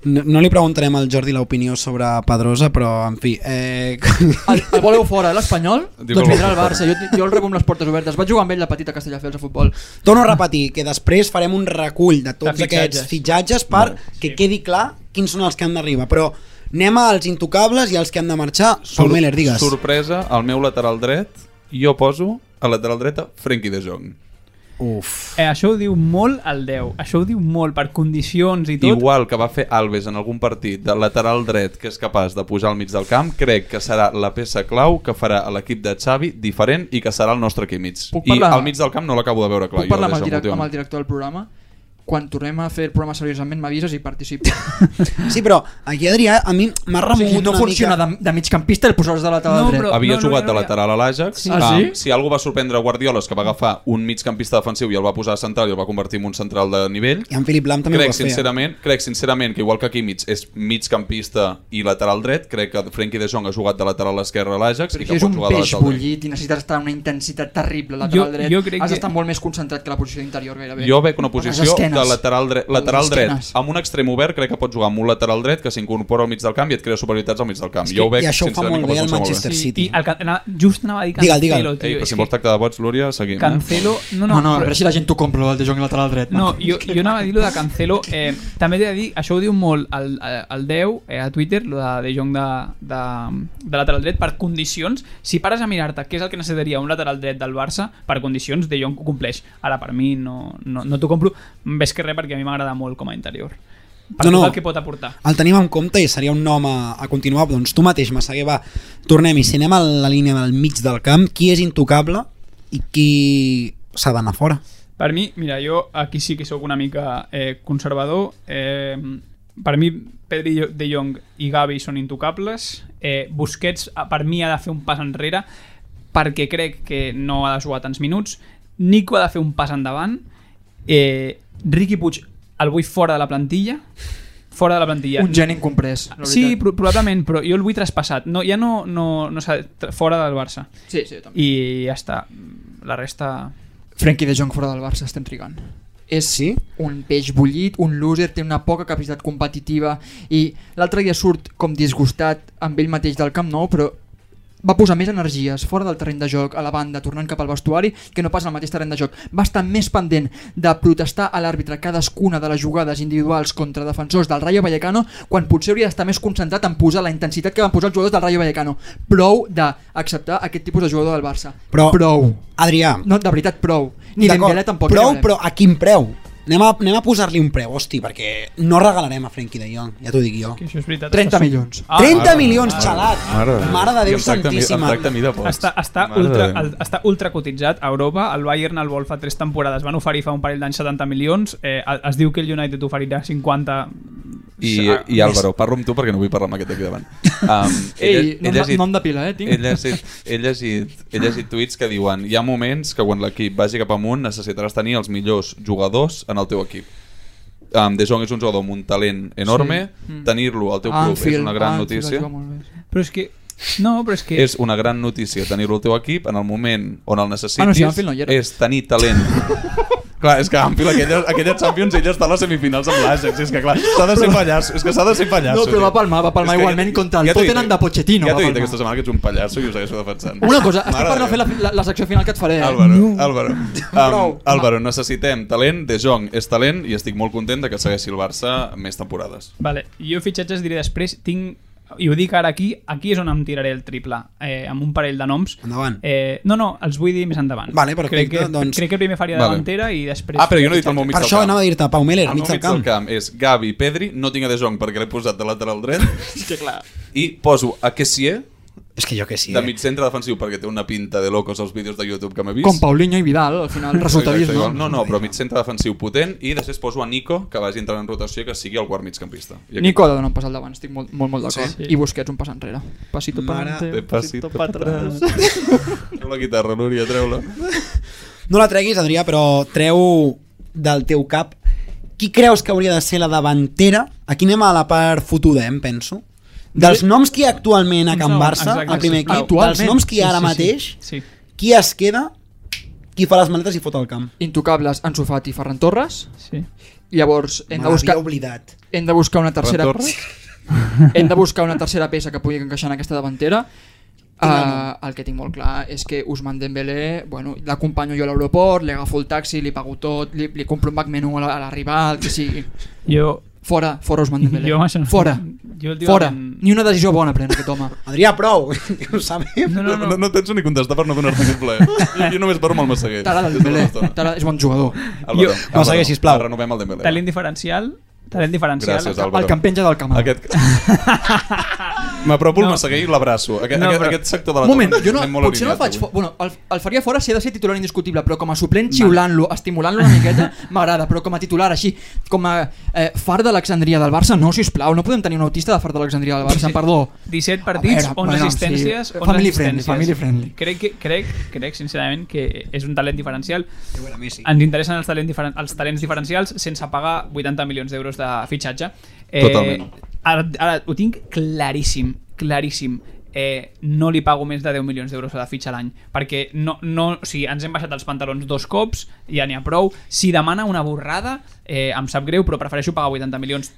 No, no li preguntarem al Jordi l'opinió sobre Pedrosa, però, en fi... Eh... [LAUGHS]
El, el voleu fora, eh, l'Espanyol?
Diu
Doncs
que el
vindrà el
voleu
Barça. Jo, jo el rebo amb les portes obertes. Vaig jugar amb ell la petita a Castelldefels a futbol.
Torno a repetir que després farem un recull de tots
De fitxatges.
aquests fitxatges per que quedi clar quins són els que han d'arribar, però anem als intocables i als que han de marxar. Sur, Meller, digues.
Sorpresa, al meu lateral dret, jo poso a lateral dreta Frenkie de Jong.
Uf.
Eh, això ho diu molt el 10, això ho diu molt per condicions i tot.
Igual que va fer Alves en algun partit de lateral dret que és capaç de pujar al mig del camp, crec que serà la peça clau que farà a l'equip de Xavi diferent i que serà el nostre aquí mig.
Puc
I
parlar-
al mig del camp no l'acabo de veure clar.
Puc parlar amb el, direc-
director?
amb el director del programa? Quan tornem a fer el programa seriosament m'avises i
[LAUGHS]
participo.
Sí, però aquí Adrià a mi m'ha
O sigui,
remogut
no
una
funciona
mica.
de, de migcampista el posar de lateral
No,
dret.
però-
Havia
no, no,
jugat
no,
de
no.
lateral a l'Ajax.
Ah, sí?
Em, si algú va sorprendre Guardiola és que va agafar un migcampista defensiu i el va posar a central i el va convertir en un central de nivell.
I en Philip Lam també
Crec
ho va
eh?
fer.
sincerament, crec sincerament que igual que aquí mig és migcampista i lateral dret, crec que Frenkie de Jong ha jugat de lateral esquerre a l'Ajax i
Però
que
és
pot
un
jugar de
peix
lateral dret.
bullit i necessites estar en una intensitat terrible lateral
Jo-
dret.
jo crec
Has d'estar
que-
molt més concentrat que la posició interior gairebé.
Jo veig una
A les
posició
esquenes.
de lateral, dre
A les
lateral dret.
esquenes.
Amb un extrem obert crec que pot jugar amb un lateral dret que s'incorpora al mig del camp i et crea superioritats al mig del camp.
És
Jo
que-
ho veig,
i això ho fa
sincerament,
molt
com a
bé el
defensa molt
Manchester
Sí,
City.
I el, Can- anava- just anava a dir
Digue'l,
Cancelo,
digue'l.
tio.
Ei, però
és
si
que
vols tractar de boig, Lúria, seguim. eh?
Cancelo...
No,
No, no,
no, a
però-
veure si la gent t'ho compra, el de Jong lateral dret.
No, jo, jo anava a dir lo de Cancelo eh, també t'he de dir, això ho diu molt el, el 10 eh, a Twitter lo de, de Jong de, de, de lateral dret per condicions, si pares a mirar-te què és el que necessitaria un lateral dret del Barça per condicions, De Jong ho compleix ara per mi no, no, no t'ho compro més que res perquè a mi m'agrada molt com a interior per
No,
no,
no.
tot el que pot aportar
El tenim en compte i seria un nom a, a continuar. Doncs tu mateix, Massaguer, va, tornem-hi. Si anem a la línia del mig del camp, qui és intocable? i qui s'ha d'anar fora.
Per mi, mira, jo aquí sí que sóc una mica eh, conservador. Eh, per mi, Pedri de Jong i Gavi són intocables. Eh, Busquets, ah, per mi, ha de fer un pas enrere perquè crec que no ha de jugar tants minuts. Nico ha de fer un pas endavant. Eh, Riqui Puig el vull fora de la plantilla. Fora de la plantilla.
Un geni incomprès. la
Sí,
veritat.
pro probablement, però jo el vull traspassat. No, ja no, no, no s'ha- tra- fora del Barça.
sí, sí, també.
I ja està. La resta...
Frenkie de Jong fora del Barça estem trigant és
Sí?
un peix bullit, un loser, té una poca capacitat competitiva i l'altre dia surt com disgustat amb ell mateix del Camp Nou, però va posar més energies fora del terreny de joc, a la banda, tornant cap al vestuari, que no pas al mateix terreny de joc. Va estar més pendent de protestar a l'àrbitre cadascuna de les jugades individuals contra defensors del Rayo Vallecano, quan potser hauria d'estar més concentrat en posar la intensitat que van posar els jugadors del Rayo Vallecano. Prou d'acceptar aquest tipus de jugador del Barça.
Però-
Prou.
Adrià,
No, de veritat, prou. Ni
d'acord,
Dembélé tampoc.
prou,
ni Dembélé.
però a quin preu? Anem a, anem a posar-li un preu, hosti, perquè no regalarem a Frenkie de Jong, ja t'ho dic jo.
Que això és veritat.
30
Estàs-
milions.
Ah,
30
mare,
milions,
mare,
xalat! Mare, de Déu
I em tracta a mi-
santíssima!
Em tracta a mi de boig.
Està, està,
Mare
ultra,
de Déu.
el, està ultra cotitzat a Europa, el Bayern el vol fa 3 temporades van oferir fa un parell d'anys 70 milions eh, es diu que el United oferirà 50
I, i Álvaro, parlo amb tu perquè no vull parlar amb aquest aquí
[LAUGHS]
davant. Um,
Ei, no, no, no em depila, eh, tinc.
He llegit, he, llegit, he llegit tuits que diuen hi ha moments que quan l'equip vagi cap amunt necessitaràs tenir els millors jugadors en el teu equip. Um, de Jong és un jugador amb un talent enorme,
Sí.
sí.
Mm.
tenir-lo al teu club és una gran
Anfield
notícia.
juga molt bé.
però és que no, però és que
És una gran notícia tenir-lo al teu equip en el moment on el necessitis
Ah, no, sí, Anfield no hi era.
és
[LAUGHS]
tenir talent. clar, és que Anfield, aquella, aquella Champions, ella està a les semifinals amb l'Ajax. És que clar, s'ha de ser pallasso. És que s'ha de ser pallasso.
No, però va
tio.
palmar, va palmar
És que
igualment contra el
t'ho he dit,
Tottenham de Pochettino,
Ja
va
t'he dit
palmar.
aquesta setmana que ets un pallasso i ho segueixo defensant.
Una cosa, estic
Mare
per no
de
fer la, la, la secció final que et faré. eh?
Álvaro, no. Álvaro.
Prou.
Um, Álvaro, necessitem talent, De Jong és talent i estic molt content de que segueixi el Barça més temporades.
vale, jo fitxatges diré després tinc, i ho dic ara aquí aquí és on em tiraré el triple eh, amb un parell de noms
Endavant.
eh, no, no, els vull dir més endavant
Vale, perfecte,
crec que,
doncs-
crec que primer faria
Vale.
vale. davantera i després
Ah, però jo no he dit el meu mig
Per
del
això
camp. Ah,
anava a dir-te, Pau Meller,
El
al mig del
camp.
camp.
camp és Gavi, Pedri, no tinc a De Jong perquè l'he posat de lateral
[LAUGHS]
dret. és que clar. I poso a Kessier,
És que jo eh? que sí.
de mig centre defensiu, perquè té una pinta de locos als vídeos de YouTube que m'he vist.
Com Paulinho i Vidal, al final resultaris,
Exacte,
no?
igual. No, no, però mig centre defensiu potent i després poso a Nico, que vagi entrant en rotació i que sigui el quart migcampista. I aquí-
Nico ha de donar un pas al davant, estic molt, molt, molt d'acord.
Sí.
I Busquets un pas enrere. Passito per
Mare
endavant,
de passito
per atrás.
[LAUGHS] Treu la guitarra, Núria, treu-la.
No la treguis, Adrià, però treu del teu cap qui creus que hauria de ser la davantera? Aquí anem a la part fotuda, eh, em penso. Dels noms que hi ha actualment a
Un
Can
segon,
Barça,
exacte,
al primer
sisplau.
equip, dels
Actualment?
noms que hi ha ara
Sí, sí, sí.
mateix,
sí.
qui es queda, qui fa les maletes i fot al camp.
Intocables, Ansu Fati i Ferran Torres.
sí.
Llavors, hem de,
M'havia
buscar,
oblidat.
hem de buscar una tercera...
Ferran Torres?
[LAUGHS] hem de buscar una tercera peça que pugui encaixar en aquesta davantera Uh, el que tinc molt clar és que Usman Dembélé bueno, l'acompanyo jo a l'aeroport, li agafo el taxi li pago tot, li, li compro un McMenú a la- a l'arribar, el que sigui
jo
fora, fora Usman
[LAUGHS]
Dembélé,
Jo amb això no-
fora
jo el dia
fora,
on-
ni una decisió bona pren aquest home
Adrià, prou! [LAUGHS] que ho sabem.
no, no, no,
No, no tens ni contestar per no donar-te aquest plaer. Jo, jo només parlo amb el Massaguer.
t'agrada el Dembélé, t'agrada- és bon jugador
Jo-
Massaguer, sisplau.
Renovem el Dembélé.
talent diferencial talent diferencial
Gràcies, Álvaro.
el que em penja del camp
Aquest... [LAUGHS] M'apropo
No.
el Massaguer i l'abraço. Aquest,
No,
aquest,
però-
aquest sector de la
un moment,
taula
jo no,
anem molt
potser no el
alineats
faig
avui.
fo- bueno, el, el faria fora si ha de ser titular indiscutible, però com a suplent xiulant-lo, estimulant-lo una miqueta, [LAUGHS] m'agrada, però com a titular així, com a eh, far d'Alexandria del Barça, no, si us plau, no podem tenir un autista de far d'Alexandria del Barça, perdó.
17 partits,
A veure, bueno,
11 assistències,
sí.
11
Family friendly,
assistències.
family friendly.
Crec, que, crec, crec, sincerament, que és un talent diferencial. Ens interessen els talents, diferen els talents diferencials sense pagar 80 milions d'euros de fitxatge. Eh,
Totalment.
Ara, ara ho tinc claríssim, claríssim. Eh, no li pago més de 10 milions d'euros de fitxa a l'any perquè no, no, o sigui, ens hem baixat els pantalons dos cops, ja n'hi ha prou si demana una borrada eh, em sap greu però prefereixo pagar 80 milions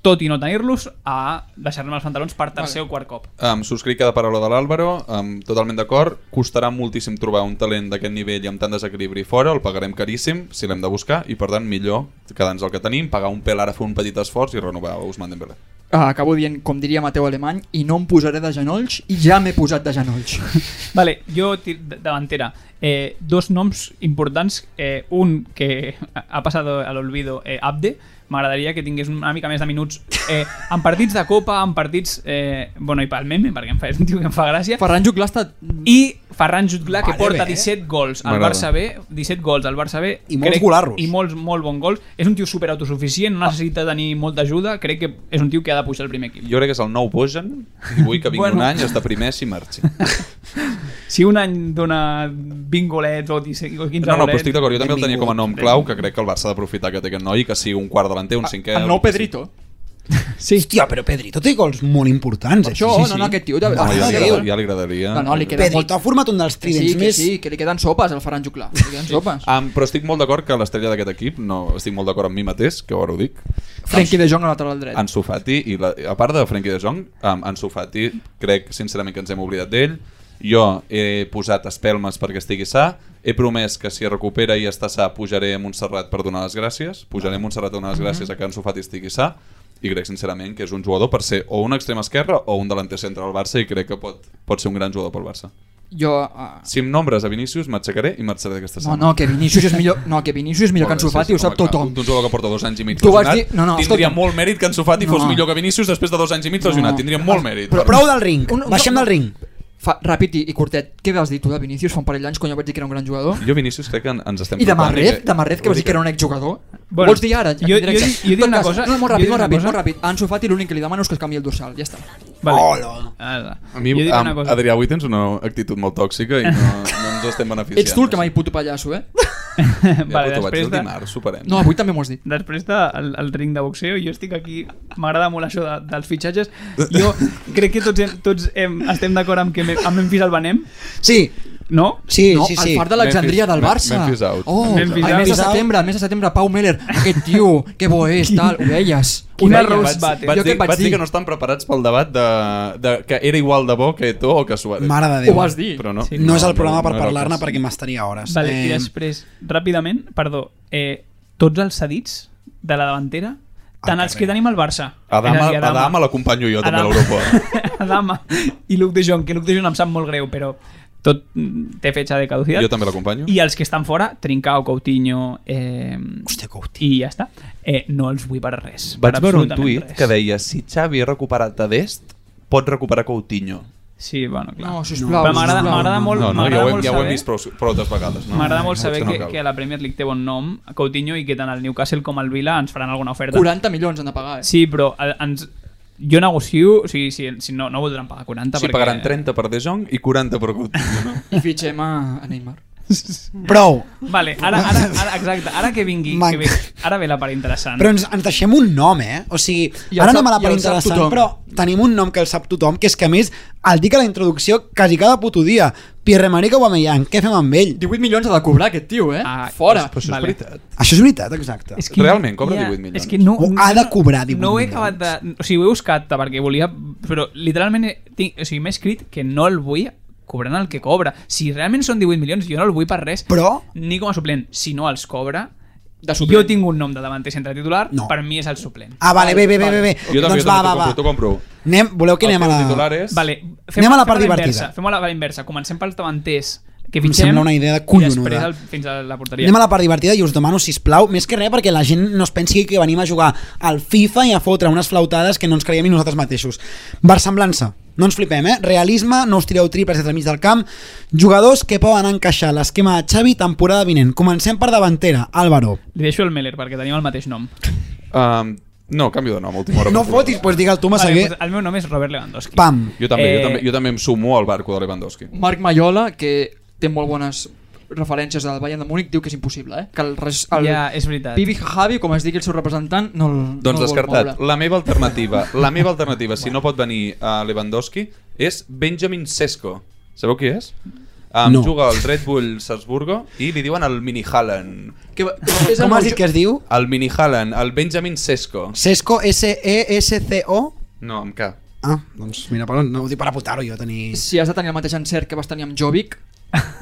tot i no tenir-los, a deixar-me els pantalons per tercer vale. o quart cop.
Em subscric cada paraula de l'Àlvaro, um, totalment d'acord. Costarà moltíssim trobar un talent d'aquest nivell i amb tant desequilibri fora, el pagarem caríssim si l'hem de buscar i, per tant, millor quedar-nos el que tenim, pagar un pel ara, fer un petit esforç i renovar Ousmane Dembélé.
Ah, acabo dient, com diria Mateu Alemany, i no em posaré de genolls, i ja m'he posat de genolls.
[LAUGHS]
Vale, jo tir- d- davantera. Eh, dos noms importants. Eh, un que ha passat a l'olvido, eh, Abde. M'agradaria que tingués una mica més de minuts eh, en partits de Copa, en partits... Eh, bueno, i pel meme, perquè em fa, és un tio que em fa gràcia.
Ferran Juclà ha estat...
I Ferran Jutglar, que
Vale,
porta
bé.
17 gols al
M'agrada.
Barça B, 17 gols al Barça B.
I molts golarros.
I molts, molt bon gols. És un tio super autosuficient, no necessita tenir molta ajuda, crec que és un tio que ha de pujar al primer equip.
Jo crec que és el nou Bojan i vull que vingui
Bueno.
bueno. un any, es deprimeixi i
[LAUGHS]
marxi.
Si un any dona 20 golets o 17 o
No,
15
no, però
golets...
estic d'acord, jo també el tenia com a nom
Benvingut.
clau, que crec que el Barça ha d'aprofitar que té aquest noi i que sigui un quart delanter, un cinquè...
Ah, El
o
nou
el que
Pedrito.
Sí. Hòstia, però Pedrito té gols molt importants.
Per
eh?
això,
Sí, sí.
no, no, aquest tio...
sigui.
De...
No, ja,
Ah,
li
Déu.
agrada- ja li agradaria.
No, no, li queda molt...
Pedrito ha format un dels
Que
tridents
sí, que
més...
sí, que li queden sopes al Ferran Juclar. Li queden sopes.
Ah, però estic molt d'acord que l'estrella d'aquest equip, no, estic molt d'acord amb mi mateix, que ara ho dic,
Frenkie
ah.
de Jong a lateral dret.
Ansu Fati, i la, a part de Frenkie de Jong, um, Ansu Fati, crec sincerament que ens hem oblidat d'ell, jo he posat espelmes perquè estigui sa, he promès que si es recupera i està sa pujaré a Montserrat per donar les gràcies, pujaré a Montserrat a donar les gràcies a que Ansu Fati estigui sa, i crec sincerament que és un jugador per ser o un extrem esquerre o un delanter centre al Barça i crec que pot, pot ser un gran jugador pel Barça.
Jo... ah,
Si em nombres a Vinícius, m'aixecaré i marxaré d'aquesta
No, no, que Vinícius és millor, no, que Vinícius és millor que Ansu Fati, ho sap tothom.
Un jugador que porta dos anys i mig
Tu vas
lesionat,
dir- no, no,
tindria
escolta'm.
molt mèrit que Ansu Fati
No.
fos millor que Vinícius després de dos anys i mig lesionat. Tindria molt mèrit.
Però prou del ring, baixem del ring.
Fa, ràpid i, i curtet, què vas dir tu de Vinícius fa un parell d'anys quan jo vaig dir que era un gran jugador?
Jo Vinícius crec que en- ens estem...
I de
portant
Marret, de Marret, que vas dir que era un exjugador? Bueno, Vols dir ara?
jo- jo
en directe?
dic- jo dic
En tot
una
cas,
cosa-
No, molt
jo
ràpid,
dic
molt
una
ràpid,
cosa.
molt ràpid. A Ansu Fati l'únic que li demano és que es canvi el dorsal, ja està.
Vale.
Hola.
Hola.
A mi,
Jo dic una
amb
cosa.
Adrià, avui tens una actitud molt tòxica i no, no ens estem beneficiant.
Ets tu el que mai puto pallasso, eh?
Ja,
[LAUGHS] Vale,
vale, t'ho vaig dir
després
el
de-
dimarts, superem.
No, avui també m'ho has dit.
Després del el ring de boxeo, jo estic aquí, m'agrada molt això de, dels fitxatges.
[LAUGHS]
Jo crec que tots, hem, tots hem, estem d'acord amb que me, amb Memphis el venem,
Sí,
no?
sí,
no,
sí,
el
sí.
far d'Alexandria del
Memphis-
Barça.
Memphis out.
Oh, el
Memphis
mes de
out.
setembre, el mes de setembre, Pau Meller. Aquest tio, que bo és, tal, ho veies. Ho
Quina
veies.
Rose Battle.
Vaig,
Jo
dir,
què et vaig dir?
que no estan preparats pel debat de, de, que era igual de bo que tu o que Suárez.
Mare de
Ho
Déu.
vas dir.
Però no,
Sí.
No és el programa per
era el
parlar-ne
cas.
perquè m'estaria hores.
Vale,
Eh,
I després, ràpidament, perdó, eh, tots els cedits de la davantera,
Ah,
tant els que tenim al Barça.
Adama, Adama l'acompanyo jo també a
[LAUGHS]
l'aeroport.
Adama i Luke de Jong, que Luke de Jong em sap molt greu, però tot mm, té fetge de caducitat.
Jo també l'acompanyo.
I els que estan fora, Trincao, Coutinho... Eh,
Hòstia, Coutinho.
I ja està. Eh, no els vull per res.
Vaig
per
veure un
absolutament
tuit que deia si Xavi ha recuperat a Dest, pot recuperar Coutinho.
Sí, bueno, clar.
No, sisplau,
Però m'agrada
sisplau.
m'agrada molt,
no, no, ja
m'agrada
ho, hem,
molt
ja ho hem
saber-
vist prou, prou altres vegades. No?
M'agrada molt saber
Potser
que,
no cal.
que la Premier League té bon nom, Coutinho, i que tant el Newcastle com el Vila ens faran alguna oferta.
40 milions han de pagar, eh?
Sí, però eh, ens, jo negocio... O sigui, si, si no, no voldran pagar 40
Sí,
perquè...
pagaran 30 per De Jong i 40 per Coutinho.
[LAUGHS]
No?
I fitxem a, a Neymar.
Prou.
Vale, ara, ara, ara, exacte, ara que vingui...
Manc.
Que ve, ara ve la part interessant.
Però ens, ens deixem un nom, eh? O sigui,
I el
ara
sap-
anem a la
i
part
el sap
interessant,
tothom.
però tenim un nom que el sap tothom, que és que a més el dic a la introducció quasi cada puto dia. Pierre-Emerick Aubameyang, què fem amb ell?
18 milions ha de cobrar aquest tio, eh?
Ah,
Fora.
Però això és veritat.
Això és veritat, exacte.
És
Realment, cobra 18 milions.
És que no,
O ha de cobrar 18
no ho he
milions.
acabat de... O sigui, ho he buscat perquè volia... Però literalment he- tinc, o sigui, m'he escrit que no el vull cobrant el que cobra. Si realment són 18 milions, jo no el vull per res.
Però-
Ni com a suplent. Si no els cobra...
De
Jo tinc un nom de davanter centre titular,
No.
per mi és el suplent.
Ah, vale, bé, bé, bé, bé. bé.
Jo també,
doncs
jo
va,
també
va,
t'ho compro,
va.
t'ho compro.
Anem, voleu que
El
anem a
teu
la...
titular és...
Vale,
Anem a la part
fem
divertida.
inversa, Fem a la part inversa. Comencem pels davanters que
Em
fitxem
sembla una idea de
i després
collonuda.
el, fins a la porteria.
Anem a la part divertida i us demano, si plau, més que res perquè la gent no es pensi que venim a jugar al FIFA i a fotre unes flautades que no ens creiem ni nosaltres mateixos. Versemblança. No ens flipem, eh? Realisme, no us tireu triples des del mig del camp. Jugadors que poden encaixar l'esquema de Xavi temporada vinent. Comencem per davantera, Álvaro.
Li deixo el Meller perquè tenim el mateix nom.
Um, no, canvio de nom, a última hora.
No
per favor.
fotis, doncs digue'l tu, Massaguer.
doncs el meu nom és Robert Lewandowski.
Pam.
Jo també,
Eh,
jo, també, jo també em sumo al barco de Lewandowski.
Marc Maiola, que té molt bones referències al Bayern de Múnich, diu que és impossible, eh? Que el, res, el
Ja, és veritat.
Pibi Javi, com es digui el seu representant, no el
Doncs
no el vol
descartat.
moure.
La meva alternativa, la meva alternativa, si no pot venir a Lewandowski, és Benjamin Sesko. Sabeu qui és? Um,
No.
Juga al Red Bull Salzburgo i li diuen el Mini Haaland.
Que, va- és el
Com
nou
has dit
jo-
que es diu?
El Mini Haaland, el Benjamin Sesko.
Sesco, E S-E-S-C-O?
No, amb K.
Ah, doncs mira, perdó, no ho dic per apuntar-ho jo, tenir...
Si has de tenir el mateix encert que vas tenir amb
[LAUGHS]
Jovic,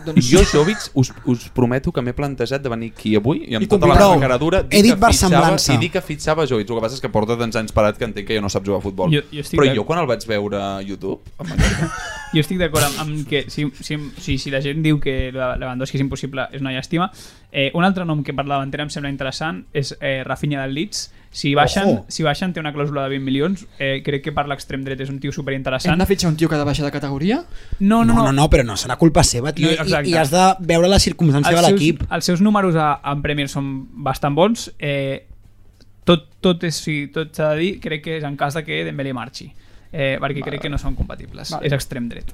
doncs...
Jo, Jovic, us, us prometo que m'he plantejat de venir aquí avui i amb
I
tota la
convidar-ho.
meva cara dura
He dit
que fitxava-
versemblança.
i dir que fitxava Jovic. El que passa és que porta tants anys parat que entenc que ja no sap jugar a futbol.
Jo- jo estic
Però
d'ac-
jo quan el vaig veure a YouTube, em va encantar.
jo estic d'acord amb, amb que si, si, si, si la gent diu que la- Lewandowski és impossible és una llàstima eh, un altre nom que per la davantera em sembla interessant és eh, Rafinha del Leeds si baixen,
Ojo.
si baixen té una clàusula de 20 milions eh, crec que per l'extrem dret és un tio
Hem
superinteressant
de fitxar un tio que ha de baixar de categoria?
no, no,
No, no, no, però no serà culpa seva, tio.
No,
No,
exacte.
I, I has de veure la circumstància de l'equip.
Seus, els seus números a, en Premier són bastant bons. Eh, tot tot és, sí, tot s'ha de dir, crec que és en cas de que Dembélé marxi. Eh, perquè crec que no són compatibles. És extrem dret.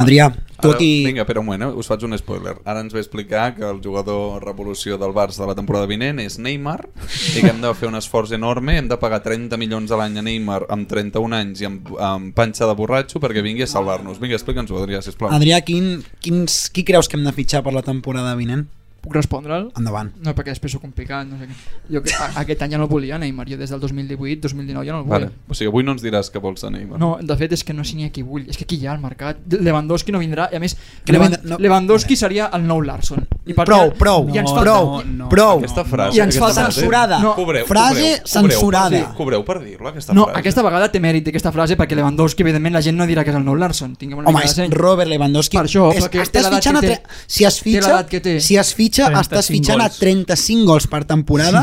Adrià, tot
Ara,
i...
Vinga, espera un moment, eh? us faig un spoiler. Ara ens ve a explicar que el jugador revolució del Barça de la temporada vinent és Neymar i que hem de fer un esforç enorme, hem de pagar 30 milions a l'any a Neymar amb 31 anys i amb, amb panxa de borratxo perquè vingui a salvar-nos. Vinga, explica'ns-ho, Adrià, sisplau.
Adrià, quin, quins, qui creus que hem de fitxar per la temporada vinent?
Puc respondre'l?
Endavant.
No, perquè després ho complicat. No sé què. Jo que, a, aquest any ja no el volia, Neymar. Jo des del 2018, 2019 ja no el vull.
Vale. O sigui, avui no ens diràs que vols a Neymar.
No, de fet és que no sé ni a qui vull. És que aquí hi ha al mercat. Lewandowski no vindrà. I a més,
Que no
Levan-
vindrà- no.
Lewandowski seria el nou Larson. I per
Prou,
tant-
prou,
I ens
No,
falta...
prou,
no,
prou.
Aquesta frase...
I ens
aquesta
falta
frase-
censurada.
No, cobreu,
Frase
cobreu,
censurada.
Cobreu, per dir- cobreu per dir-la, aquesta
No,
frase.
aquesta vegada té mèrit aquesta frase perquè Lewandowski, evidentment, la gent no dirà que és el nou Larson. Tinguem una
Home,
mica
és
de seny.
Robert Lewandowski.
Per això,
és,
perquè té
estàs
l'edat
fitxant a
que
tre...
té.
si es
Té
fitxa,
l'edat que té.
si es fitxa, estàs
35
fitxant
gols.
a 35 gols per temporada,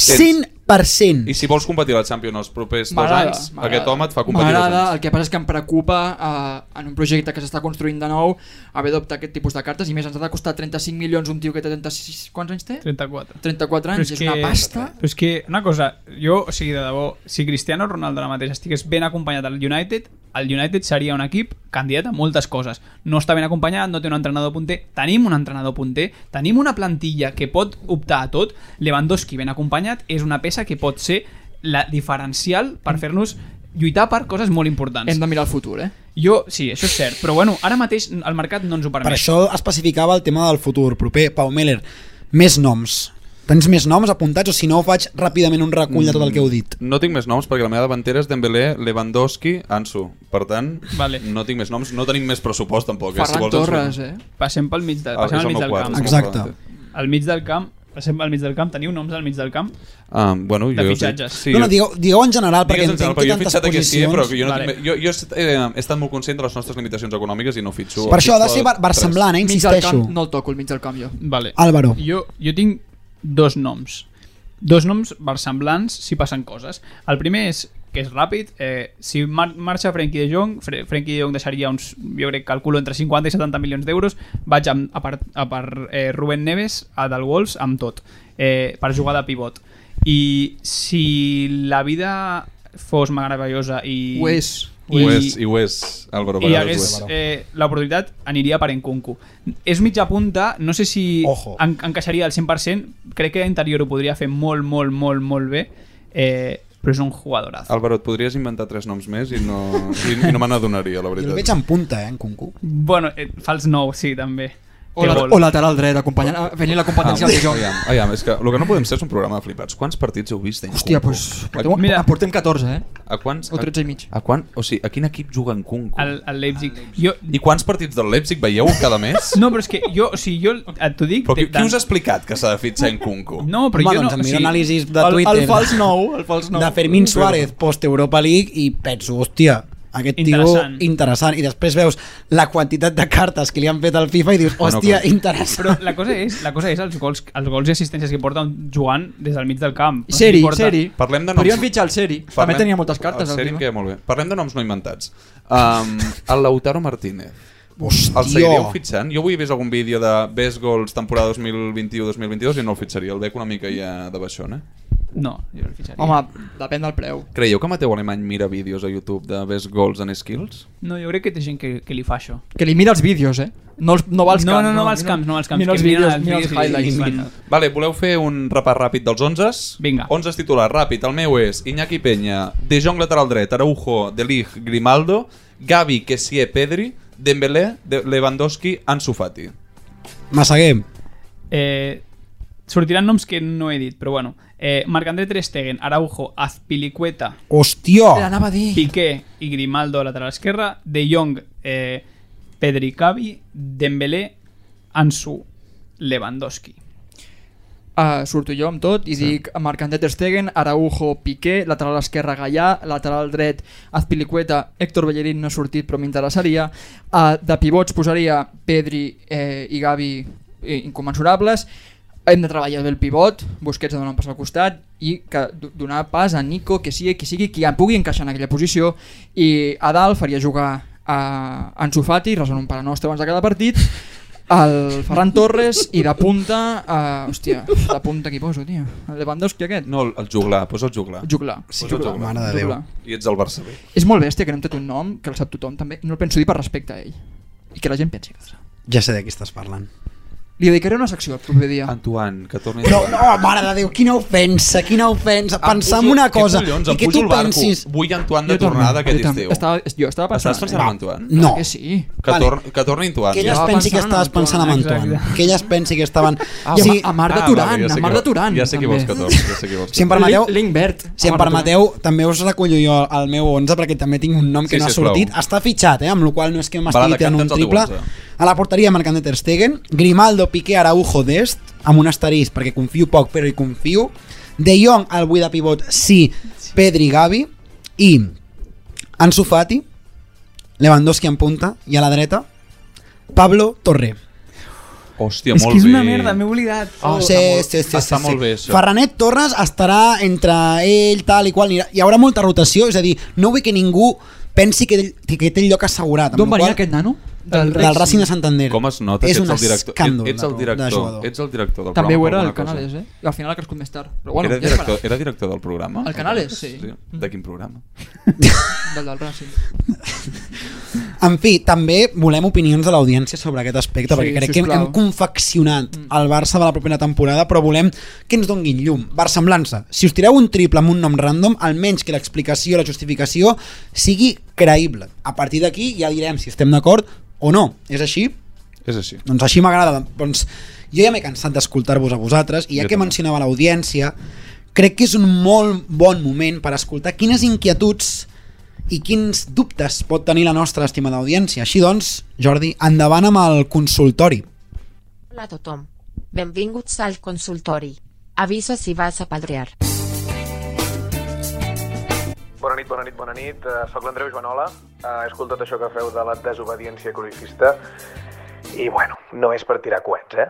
100%.
I si vols competir la Champions els propers dos
M'agrada,
anys,
m'agrada.
aquest home et fa competir dos
M'agrada,
anys.
el que passa és que em preocupa eh, en un projecte que s'està construint de nou haver d'optar aquest tipus de cartes i més ens ha de costar 35 milions un tio que té 36... Quants anys té?
34.
34 anys, Doncs és, una pasta.
Però és que, una cosa, jo, o sigui, de debò, si Cristiano Ronaldo ara mateix estigués ben acompanyat al United, el United seria un equip candidat a moltes coses. No està ben acompanyat, no té un entrenador punter, tenim un entrenador punter, tenim una plantilla que pot optar a tot, Lewandowski ben acompanyat és una peça que pot ser la diferencial per fer-nos lluitar per coses molt importants.
Hem de mirar el futur, eh?
Jo, sí, això és cert, però bueno, ara mateix el mercat no ens ho
Per
permet.
això especificava el tema del futur proper. Pau Meller, més noms. Tens més noms apuntats o si no faig ràpidament un recull de tot el que heu dit?
No tinc més noms perquè la meva davantera és Dembélé, Lewandowski, Ansu. Per tant,
Vale.
no tinc més noms. No tenim més pressupost, tampoc. eh,
Ferran
vols ens
Torres,
fem-
eh?
Passem pel mig, de,
Ah,
passem
és
al
el
mig
meu
del
quart,
camp.
és el meu
Exacte.
quart.
Al mig del camp, passem al mig del camp, teniu noms al mig del camp?
Ah, bueno,
De
jo
fitxatges.
Sí,
no, no, digueu, digueu en general perquè
Digues en general,
entenc que
perquè jo he
tantes
fitxat aquí sí,
posicions...
però que jo, no
Vale.
tinc, jo, jo he estat- eh, he estat molt conscient de les nostres limitacions econòmiques i no fitxo.
Per això ha de
fitxo
ser bar
tres.
barsemblant, eh?
Mig del
Insisteixo.
camp, no el toco, el mig del camp jo.
Vale.
Álvaro.
Jo, jo tinc dos noms. Dos noms versemblants si passen coses. El primer és que és ràpid. Eh, si mar marxa Frenkie de Jong, Fre Frenkie de Jong deixaria uns, jo crec, calculo entre 50 i 70 milions d'euros. Vaig amb, a per, a per eh, Rubén Neves, a del Wolves, amb tot, eh, per jugar de pivot. I si la vida fos meravellosa i...
Ho és.
I... Ho
I-
és, i ho és, Álvaro
i
Vargas.
hagués,
ho és.
eh, l'oportunitat aniria per Enkunku és mitja punta, no sé si
Ojo.
en, encaixaria al 100% crec que d'interior ho podria fer molt, molt, molt, molt bé eh, però és un jugadorazo
Álvaro, et podries inventar tres noms més i no, i, i no me n'adonaria, la
Jo el
veritat.
veig en punta, eh, en Kunku.
bueno, eh, fals nou, sí, també
O,
Té
la,
gol.
o lateral dret, acompanyant, ah, venint la competència
Ah,
al Dijon.
aviam, aviam, és que el que no podem ser és un programa de flipats. Quants partits heu vist? d'Enkunku?
Hòstia, doncs... Portem,
A,
Ah,
Mira.
Mira. portem 14, eh?
a quants...
O 13 i mig.
A, quan, o sigui, a quin equip juga en Kunku?
el, el Leipzig, jo,
I quants partits del Leipzig veieu cada
[LAUGHS]
mes?
no, però és que jo, o sigui, jo et t'ho dic
Però qui,
de-
qui us ha explicat que s'ha de fitxar en Kunku?
no, però
Home,
jo no,
doncs em miro anàlisis de
El,
Twitter.
el fals nou, el fals nou.
de Fermín Suárez post-Europa League i penso, hòstia, aquest
Interessant.
tio interessant. I després veus la quantitat de cartes que li han fet al FIFA i dius,
Bueno,
hòstia,
Ah, clar.
interessant.
però la cosa és, la cosa és els, gols, els gols i assistències que porta jugant des del mig del camp O sigui,
Seri,
porta-
Seri.
Parlem de noms.
Podríem fitxar el Seri. També
Parlem-
tenia moltes cartes.
El
El
Seri,
tio.
que molt bé. Parlem de noms no inventats. Um, el Lautaro Martínez.
Hòstia.
El seguiríeu fitxant? Jo avui he vist algun vídeo de best goals temporada 2021-2022 i no el fitxaria. El veig una mica ja de baixona.
no, jo el fitxaria
Home, depèn del preu.
Creieu que Mateu Alemany mira vídeos a YouTube de best goals and skills?
no, jo crec que té gent que, que li fa això
Que li mira els vídeos, eh? No, els, no va als
no,
camps.
No, no, va als
mira-
camps, no va als camps.
Mira els
que miren
vídeos, mira els
i
highlights.
fan-
Vale, voleu fer un repàs ràpid dels 11?
Vinga.
11 titulars, ràpid. El meu és Iñaki Peña, De Jong lateral dret, Araujo, De Ligt, Grimaldo, Gavi, Kessie, Pedri, Dembélé, de Lewandowski, Ansu Fati.
Massaguer,
Eh, sortiran noms que no he dit, però bueno. Eh, Marc-André Ter Stegen, Araujo, Azpilicueta,
hòstia,
L'anava a dir.
Piqué i Grimaldo a lateral esquerra, De Jong, eh, Pedri Cavi, Dembélé, Ansu, Lewandowski.
Uh, surto jo amb tot i sí. dic Marc-André Ter Stegen, Araujo, Piqué, lateral esquerre Gallà, lateral dret Azpilicueta, Héctor Bellerín no ha sortit però m'interessaria. Uh, de pivots posaria Pedri eh, i Gavi eh, incommensurables. Hem de treballar bé el pivot, Busquets de donar un pas al costat i que do- donar pas a Nico, que sigui qui sigui, qui em pugui encaixar en aquella posició i a dalt faria jugar a Ansu Fati, resant un pare nostre abans de cada partit el Ferran Torres i de punta uh, hòstia, de punta qui poso, tio? El Lewandowski aquest?
No, el, el juglar, posa el juglar.
Juglar.
Sí, juglar.
Mare de Déu.
Juglar.
I ets el Barça B.
És molt bèstia que no hem tret un nom que el sap tothom també, no el penso dir per respecte a ell i que la gent pensi que el sap.
Ja sé de qui estàs parlant.
Li dedicaré una secció el proper dia.
Antoine, que torni...
No, no, mare de Déu, quina ofensa, quina ofensa. Pensar en una
Ah,
cosa
collons,
i
em
que
pujo
tu
al barco.
pensis...
Vull Antoine de
Jo també, jo
tornada aquest
també.
estiu.
Estava, jo estava pensant... eh?
Estàs pensant en Antoine?
No,
Que sí.
Que,
Vale.
tor que torni Antoine.
que ella es
estava
pensi que
pensant en
estaves pensant en
Antoine,
Antoine. Que ella es pensi que estaven...
Ah,
o sigui,
a Marc de
Ah,
Turan,
vale, ja sé
a
qui
Marc
vol-
de Turan.
Ja sé qui vols que torni. Ja sé qui vols que
Si em
torni.
permeteu,
L'invert.
si em permeteu, també us recullo jo el meu 11 perquè també tinc un nom
Sí,
que sí, no ha
sisplau.
sortit. Està fitxat, eh? amb la qual no és que
Balada,
m'estigui tirant un
canta'ns el teu
triple.
11.
A la porteria marcant de Ter Stegen, Grimaldo, Piqué, Araujo, Dest, amb un asterisc perquè confio poc però hi confio. De Jong al buit de pivot, sí, Pedri, Gavi i Ansu Fati, Lewandowski en punta i a la dreta Pablo Torre.
Hòstia,
És
molt
que és una
bé.
merda, m'he oblidat.
Ah,
sí,
està molt-
sí, sí,
està
sí,
molt
sí.
bé, això.
Ferranet Torres estarà entre ell, tal i qual. anirà- Hi haurà molta rotació, és a dir, no vull que ningú pensi que, ell- que, que té el lloc assegurat. amb
D'on
la
venia
qual-
aquest nano?
Del, del Racing de Santander.
Com es nota
és
que
un
ets el director?
escàndol
ets el
de- de
director,
jugador.
ets el director del
També
programa.
ho
per
era el
alguna cosa.
Canales, eh? I al final ha crescut més tard. Però bueno,
era,
ja es
director,
veurà.
era director del programa?
El Canales, sí.
De quin programa? eh?
Del del Racing.
En fi, també volem opinions de l'audiència sobre aquest aspecte,
Sí,
perquè crec que hem,
sisplau.
hem confeccionat el Barça de la propera temporada, però volem que ens donguin llum, versemblança. Si us tireu un triple amb un nom random, almenys que l'explicació, la justificació sigui creïble. A partir d'aquí ja direm si estem d'acord o no. És així?
És així.
Doncs així m'agrada. Doncs jo ja m'he cansat d'escoltar-vos a vosaltres i ja
Jo
que
també.
mencionava l'audiència, crec que és un molt bon moment per escoltar quines inquietuds i quins dubtes pot tenir la nostra estimada audiència. Així doncs, Jordi, endavant amb el consultori.
Hola a tothom. Benvinguts al consultori. Avisa si vas a palrear.
Bona nit, bona nit, bona nit. Uh, soc l'Andreu Joanola. Uh, he escoltat això que feu de la desobediència cruifista i, bueno, no és per tirar coets, eh?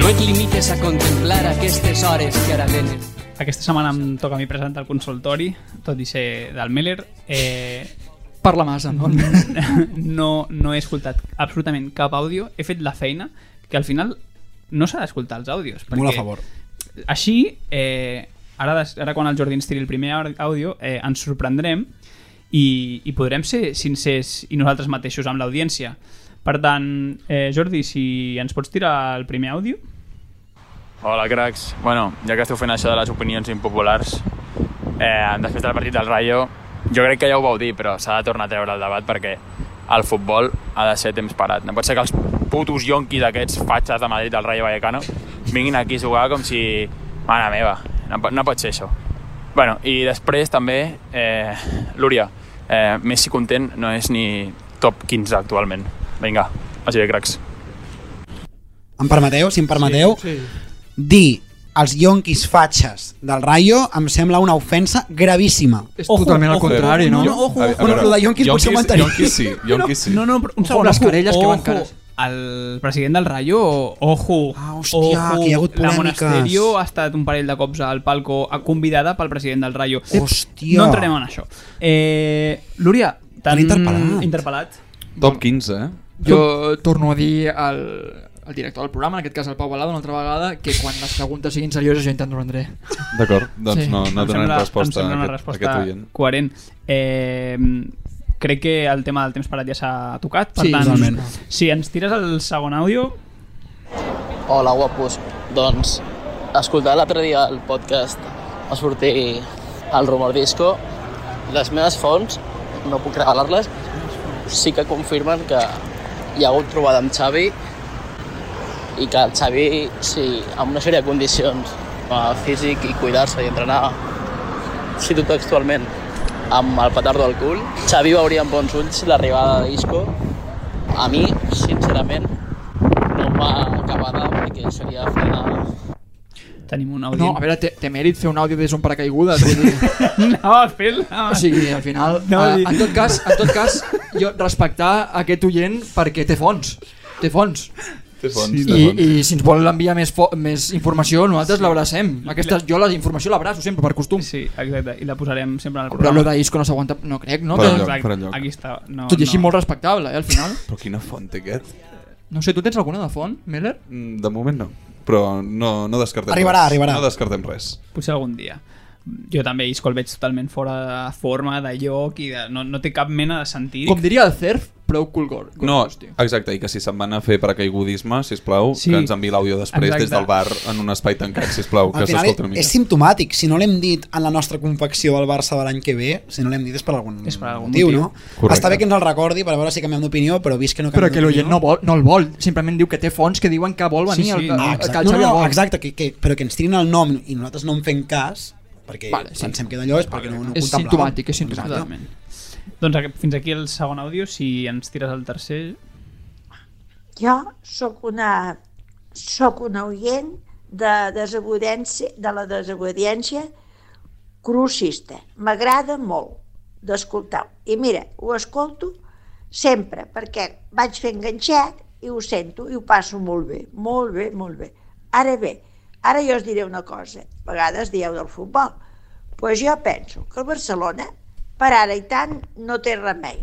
No et limites a contemplar aquestes hores que ara venen. Aquesta setmana em toca a mi presentar el consultori, tot i ser del Meller. Eh,
Per la masa, no?
[LAUGHS] no, no he escoltat absolutament cap àudio, he fet la feina, que al final no s'ha d'escoltar els àudios. Perquè
Molt a favor.
Així, eh, ara, des- ara quan el Jordi ens tiri el primer au- àudio, eh, ens sorprendrem i, i podrem ser sincers i nosaltres mateixos amb l'audiència. Per tant, eh, Jordi, si ens pots tirar el primer àudio?
Hola, cracs. Bueno, ja que esteu fent això de les opinions impopulars, eh, després del partit del Rayo, jo crec que ja ho vau dir, però s'ha de tornar a treure el debat perquè el futbol ha de ser temps parat. No pot ser que els putos yonquis aquests fatxes de Madrid del Rayo Vallecano vinguin aquí a jugar com si... Mare meva, no, pot- no pot ser això. Bueno, i després també, eh, Lúria, eh, Messi content no és ni top 15 actualment. Vinga, així de cracs.
Em permeteu, si em permeteu, sí, sí. dir els yonquis fatxes del Rayo em sembla una ofensa gravíssima.
És totalment al contrari, no?
No, ojo,
A- a
ojo.
veure,
lo de Yonkis potser ho mantenim.
Yonkis sí, Yonkis sí.
No, no, però un
Ojo,
segon,
les
ojo,
querelles que van
ojo.
cares.
El president del Rayo, ojo,
Ah, hòstia, que hi ha hagut
la
polèmiques.
Monasterio ha estat un parell de cops al palco eh, convidada pel president del Rayo. Ep,
Hòstia.
No entrarem en això. Eh, Lúria, t'han
T'han interpel·lat.
interpel·lat.
Top 15, eh?
Jo torno a dir al, al director del programa, en aquest cas al Pau Balada, una altra vegada, que quan les preguntes siguin serioses jo intento rendré.
D'acord, doncs
Sí.
no, no
Em
donarem
sembla-
resposta
em
a
sembla una
aquest,
resposta
a aquest oient.
coherent. Eh, crec que el tema del temps parat ja s'ha tocat, per
Sí,
tant,
totalment.
si ens tires el segon àudio,
Hola, guapos. Doncs, escoltant l'altre dia el podcast va sortir el Rumor Disco, les meves fonts, no puc revelar-les, sí que confirmen que hi ha hagut trobada amb Xavi i que el Xavi, si amb una sèrie de condicions eh, físic i cuidar-se i entrenar, cito textualment, amb el petardo al cul, Xavi veuria amb bons ulls l'arribada de Disco. A mi, sincerament, no em va acabar perquè seria fer
Tenim un
No,
audio.
a veure, té, té mèrit fer un àudio des d'un paracaigudes. Vull dir,
[LAUGHS]
no, fil·la.
o sigui, al final...
No,
eh,
dir-
en, tot cas, en tot cas, jo respectar aquest oient perquè té fons. Té fons.
Té fons,
I,
té fons.
I si ens vol enviar més, fo- més informació, nosaltres sí. l'abracem. Aquesta, jo la informació l'abraço sempre, per costum.
Sí, exacte, i la posarem sempre al
Però
programa.
lo d'Isco no s'aguanta, no crec, no?
Per
Que-
enlloc, per enlloc.
Doncs Aquí està. No,
Tot i així
no.
molt respectable, eh, al final.
Però quina font té aquest?
No sé, tu tens alguna de font, Miller?
Mm, De moment no. Però no, no descartem
Arribarà,
res.
arribarà.
No descartem res.
Potser algun dia. Jo també Isco el veig totalment fora de forma, de lloc, i de... No, no té cap mena de sentit.
Com diria el CERF, prou cool gore.
No, exacte, i que si se'n van a fer paracaigudisme, sisplau,
Sí.
sí. que ens enviï l'àudio després
Exacte.
exacte. des del bar en un espai tancat, sisplau, que
Al final
s'escolti una
és,
mica.
és simptomàtic. Si no l'hem dit en la nostra confecció al Barça de l'any que ve, si no l'hem dit és per algun, és per algun motiu, no?
Correcte.
Està bé que ens el recordi per veure si canviem d'opinió, però vist que no
Però que
canviem
l'oient no, vol, no el vol, simplement diu que té fons que diuen que vol venir, el,
no,
que
exacte,
el
no,
Xavi el
no,
vol.
exacte que, que, però que ens tirin el nom i nosaltres no en fem cas, perquè vale, sí. pensem que d'allò és perquè no, no ho
És
contemplàvem.
simptomàtic, és simptomàtic.
Exacte.
Doncs aqu- fins aquí el segon àudio, si ens tires el tercer...
Jo sóc una, sóc una oient de, desobediència, de la desobediència crucista. M'agrada molt d'escoltar-ho. I mira, ho escolto sempre, perquè vaig fer enganxat i ho sento i ho passo molt bé, molt bé, molt bé. Ara bé, ara jo us diré una cosa. A vegades dieu del futbol. Doncs pues jo penso que el Barcelona, per ara i tant, no té remei.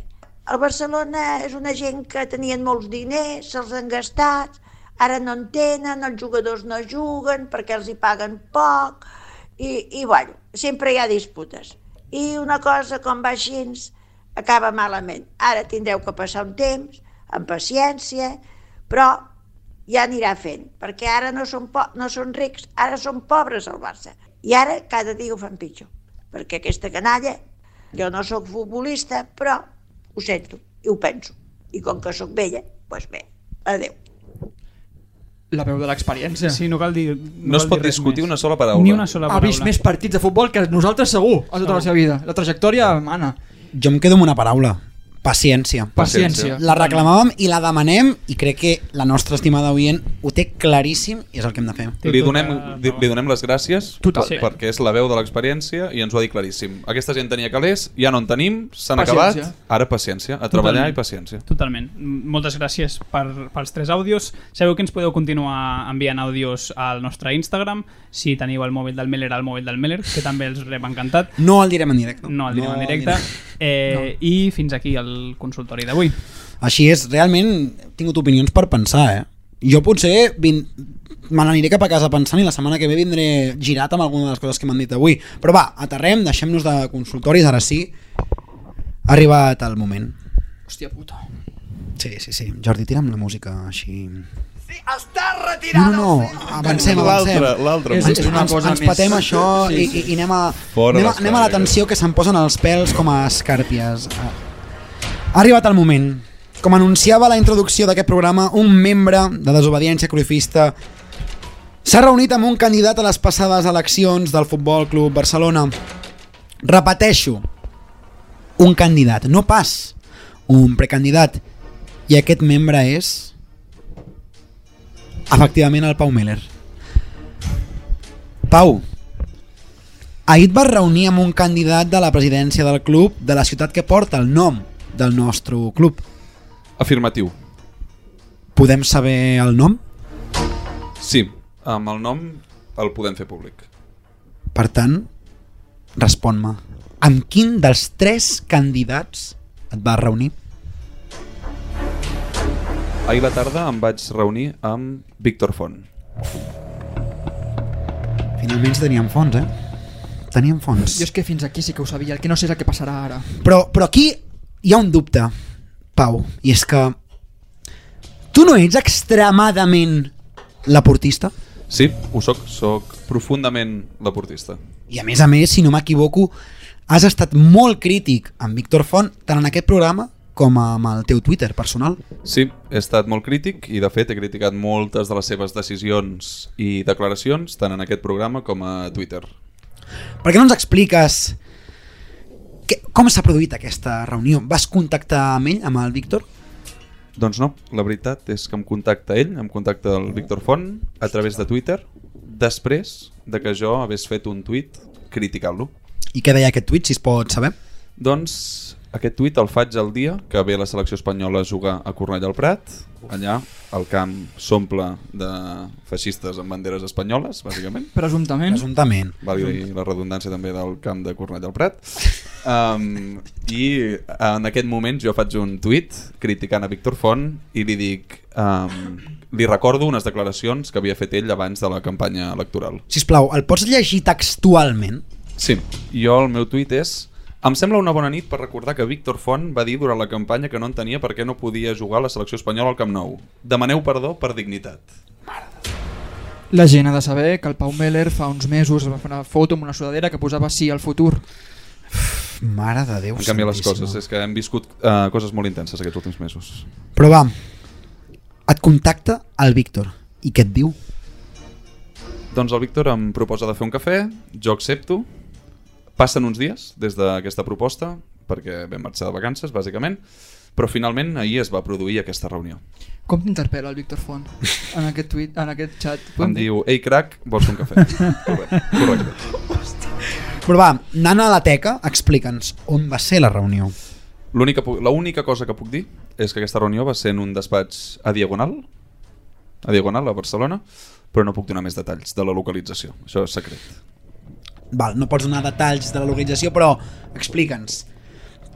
El Barcelona és una gent que tenien molts diners, se'ls han gastat, ara no en tenen, els jugadors no juguen perquè els hi paguen poc, i, i bueno, sempre hi ha disputes. I una cosa com va així acaba malament. Ara tindreu que passar un temps, amb paciència, però ja anirà fent, perquè ara no són, po no són rics, ara són pobres al Barça. I ara cada dia ho fan pitjor, perquè aquesta canalla, jo no sóc futbolista, però ho sento i ho penso. I com que sóc vella, doncs bé, adeu.
La veu de l'experiència.
Sí, no cal dir...
No es pot discutir una sola paraula.
Ni una sola
Ha vist més partits de futbol que nosaltres segur, a tota la seva vida. La trajectòria mana.
Jo em quedo amb una paraula. Paciència.
Paciència.
La reclamàvem i la demanem i crec que la nostra estimada oient ho té claríssim i és el que hem de fer.
tota
tota
Li donem, di- li donem les gràcies
Total. Sí.
perquè és la veu de l'experiència i ens ho ha dit claríssim. Aquesta gent tenia calés, ja no en tenim, s'han acabat,
Paciència.
ara paciència, a treballar
Totalment.
i paciència.
Totalment. M- Moltes gràcies per, pels tres àudios. Sabeu que ens podeu continuar enviant àudios al nostre Instagram, si teniu el mòbil del Meller al mòbil del Meller, que també els rep encantat.
No el direm en directe.
No el direm
No
en
el
directe.
direm.
Eh, I fins aquí el consultori d'avui.
Així és, realment he tingut opinions per pensar, eh? Jo potser vin... me n'aniré cap a casa pensant i la setmana que ve vindré girat amb alguna de les coses que m'han dit avui. Però va, aterrem, deixem-nos de consultoris, ara sí. Ha arribat el moment.
Hòstia puta.
Sí, sí, sí. Jordi, tira'm la música així...
Està
No,
retirada.
no, no, avancem, avancem.
L'altre, l'altre.
Ens,
És una
ens,
cosa
ens
més.
patem això
Sí,
i,
sí.
i, i anem a,
Fora
anem, a,
les
anem a la tensió que se'n posen els pèls com a escàrpies. Ah. Ha arribat el moment. Com anunciava a la introducció d'aquest programa, un membre de desobediència cruifista s'ha reunit amb un candidat a les passades eleccions del Futbol Club Barcelona. Repeteixo, un candidat, no pas un precandidat. I aquest membre és... Efectivament, el Pau Meller. Pau, ahir et vas reunir amb un candidat de la presidència del club de la ciutat que porta el nom del nostre club.
Afirmatiu.
Podem saber el nom?
Sí, amb el nom el podem fer públic.
Per tant, respon-me. Amb quin dels tres candidats et vas reunir?
Ahir la tarda em vaig reunir amb Víctor Font.
Finalment sí teníem fons, eh? Teníem fons.
Jo és que fins aquí sí que ho sabia, el que no sé és el que passarà ara.
Però, però aquí hi ha un dubte, Pau, i és que tu no ets extremadament laportista?
Sí, ho soc, soc profundament deportista.
I a més a més, si no m'equivoco, has estat molt crític amb Víctor Font, tant en aquest programa com amb el teu Twitter personal.
Sí, he estat molt crític i de fet he criticat moltes de les seves decisions i declaracions tant en aquest programa com a Twitter.
Per què no ens expliques que, com s'ha produït aquesta reunió? Vas contactar amb ell, amb el Víctor?
Doncs no, la veritat és que em contacta ell, em contacta el Víctor Font a través de Twitter. Després de que jo hagués fet un tuit criticant-lo.
I què deia aquest tuit, si es pot saber?
Doncs aquest tuit el faig el dia que ve la selecció espanyola a jugar a Cornellà al Prat. Allà el camp s'omple de feixistes amb banderes espanyoles, bàsicament.
Presumptament.
Presumptament.
Valgui la redundància també del camp de Cornellà al Prat. Um, I en aquest moment jo faig un tuit criticant a Víctor Font i li dic... Um, li recordo unes declaracions que havia fet ell abans de la campanya electoral.
Sisplau, el pots llegir textualment?
Sí, jo el meu tuit és em sembla una bona nit per recordar que Víctor Font va dir durant la campanya que no entenia per què no podia jugar a la selecció espanyola al Camp Nou. Demaneu perdó per dignitat.
La gent ha de saber que el Pau Meller fa uns mesos va fer una foto amb una sudadera que posava sí al futur.
Mare de Déu
Han canviat les coses, és que hem viscut uh, coses molt intenses aquests últims mesos.
Però va, et contacta el Víctor. I què et diu?
Doncs el Víctor em proposa de fer un cafè, jo accepto. Passen uns dies des d'aquesta proposta, perquè vam marxar de vacances, bàsicament, però finalment ahir es va produir aquesta reunió.
Com t'interpel·la el Víctor Font en aquest, tuit, en aquest xat?
Em diu, ei crac, vols un cafè? Correcte. Correcte.
Però va, anant a la teca, explica'ns on va ser la reunió.
L'única pu- la única cosa que puc dir és que aquesta reunió va ser en un despatx a Diagonal, a Diagonal, a Barcelona, però no puc donar més detalls de la localització. Això és secret.
Val, no pots donar detalls de la localització, però explica'ns.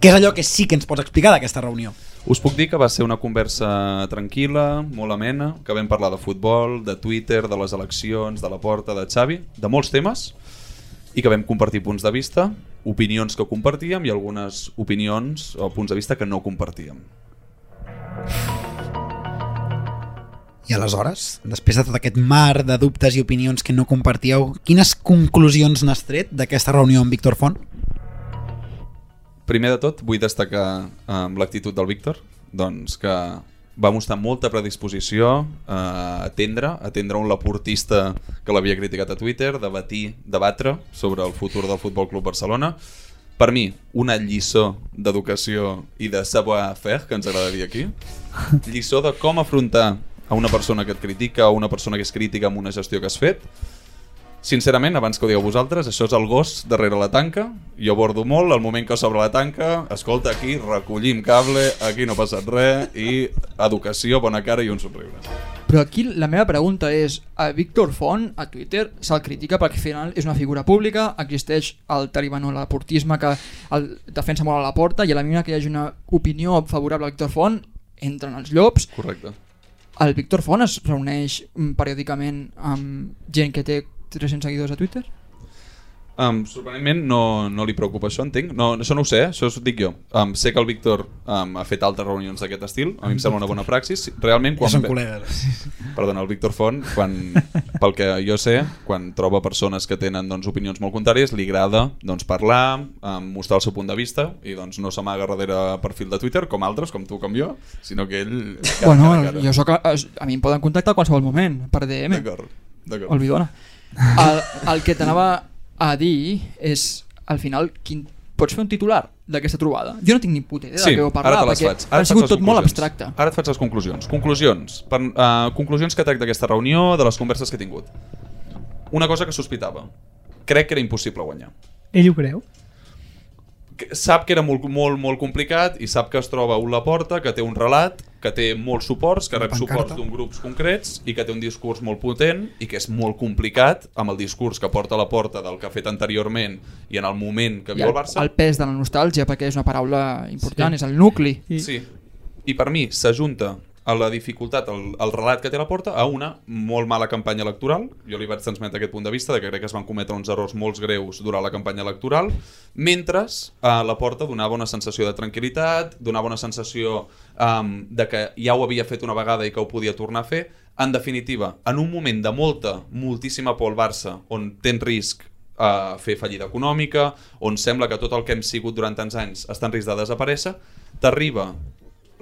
Què és allò que sí que ens pots explicar d'aquesta reunió?
Us puc dir que va ser una conversa tranquil·la, molt amena, que vam parlar de futbol, de Twitter, de les eleccions, de la porta, de Xavi, de molts temes, i que vam compartir punts de vista, opinions que compartíem i algunes opinions o punts de vista que no compartíem.
I aleshores, després de tot aquest mar de dubtes i opinions que no compartíeu, quines conclusions n'has tret d'aquesta reunió amb Víctor Font?
Primer de tot, vull destacar um, l'actitud del Víctor, doncs que va mostrar molta predisposició eh, a atendre, a atendre un laportista que l'havia criticat a Twitter, debatir, debatre sobre el futur del Futbol Club Barcelona. Per mi, una lliçó d'educació i de savoir-faire, que ens agrada dir aquí. Lliçó de com afrontar a una persona que et critica o una persona que és crítica amb una gestió que has fet Sincerament, abans que ho digueu vosaltres, això és el gos darrere la tanca. Jo bordo molt, el moment que s'obre la tanca, escolta, aquí recollim cable, aquí no ha passat res, i educació, bona cara i un somriure.
Però aquí la meva pregunta és, a Víctor Font, a Twitter, se'l critica perquè al final és una figura pública, existeix el talibano-laportisme que el defensa molt a la porta i a la mínima que hi hagi una opinió favorable a Víctor Font, entren els llops.
Correcte.
El Víctor Font es reuneix mm, periòdicament amb gent que té 300 seguidors a Twitter?
Um, sorprenentment no, no li preocupa això, entenc. No, això no ho sé, eh? això us ho dic jo. Um, sé que el Víctor um, ha fet altres reunions d'aquest estil, a mi em sembla una bona praxis. Realment, quan...
Ja són
ve-
col·legues.
Perdona, el Víctor Font, quan, pel que jo sé, quan troba persones que tenen doncs, opinions molt contràries, li agrada doncs, parlar, um, mostrar el seu punt de vista, i doncs, no s'amaga darrere perfil de Twitter, com altres, com tu, com jo, sinó que ell... cara a
bueno,
cara a cara.
jo sóc a, a, mi em poden contactar a qualsevol moment, per DM.
D'acord, d'acord.
Olvidona. El, eh, el que t'anava a dir és, al final, quin, pots fer un titular d'aquesta trobada? Jo no tinc ni puta idea
Sí,
del que heu
ara
parlat,
te les
perquè
faig. Ara
ha
et faig
sigut
les
tot molt
conclusions.
abstracte.
Ara et faig les conclusions. Conclusions. Per, uh, conclusions que trec d'aquesta reunió, de les converses que he tingut. Una cosa que sospitava. Crec que era impossible guanyar.
Ell ho creu?
Que- Sap que era molt, molt, molt complicat i sap que es troba un Laporta que té un relat, que té molts suports, que rep
pancarta.
suports d'un grups concrets i que té un discurs molt potent i que és molt complicat amb el discurs que porta a la porta del que ha fet anteriorment i en el moment que
I
viu
el,
el Barça.
el pes de la nostàlgia, perquè és una paraula important, sí. és el nucli.
I... Sí. I per mi s'ajunta a la dificultat, el, el relat que té la porta, a una molt mala campanya electoral. Jo li vaig transmetre aquest punt de vista de que crec que es van cometre uns errors molt greus durant la campanya electoral, mentre a la porta donava una sensació de tranquil·litat, donava una sensació um, de que ja ho havia fet una vegada i que ho podia tornar a fer. En definitiva, en un moment de molta, moltíssima por al Barça, on tens risc a fer fallida econòmica, on sembla que tot el que hem sigut durant tants anys està en risc de desaparèixer, t'arriba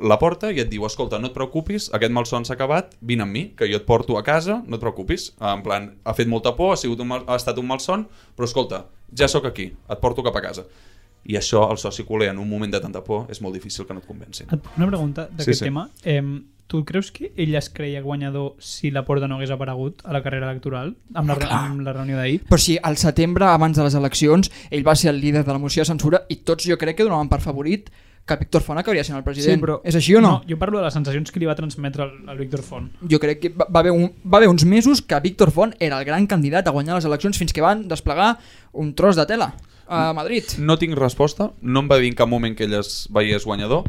la porta i et diu, escolta, no et preocupis, aquest malson s'ha acabat, vine amb mi, que jo et porto a casa, no et preocupis. Ah, En plan, ha fet molta por, ha, sigut un mal, ha estat un malson, però escolta, ja sóc aquí, et porto cap a casa. i això al soci culer en un moment de tanta por és molt difícil que no et convencin.
Et puc una pregunta d'aquest
Sí, sí.
tema? Eh, tu creus que ell es creia guanyador si la Porta no hagués aparegut a la carrera electoral amb la, amb la reunió d'ahir?
Però si al setembre, abans de les eleccions, ell va ser el líder de la moció de censura i tots jo crec que donaven per favorit que Víctor Font acabaria sent el president. És així o no?
Jo parlo de les sensacions que li va transmetre el, el Víctor Font.
Jo crec que va, va, haver un, va haver uns mesos que Víctor Font era el gran candidat a guanyar les eleccions fins que van desplegar un tros de tela
Mm.
a Madrid.
No tinc resposta, no em va dir en cap moment que ell es veiés guanyador.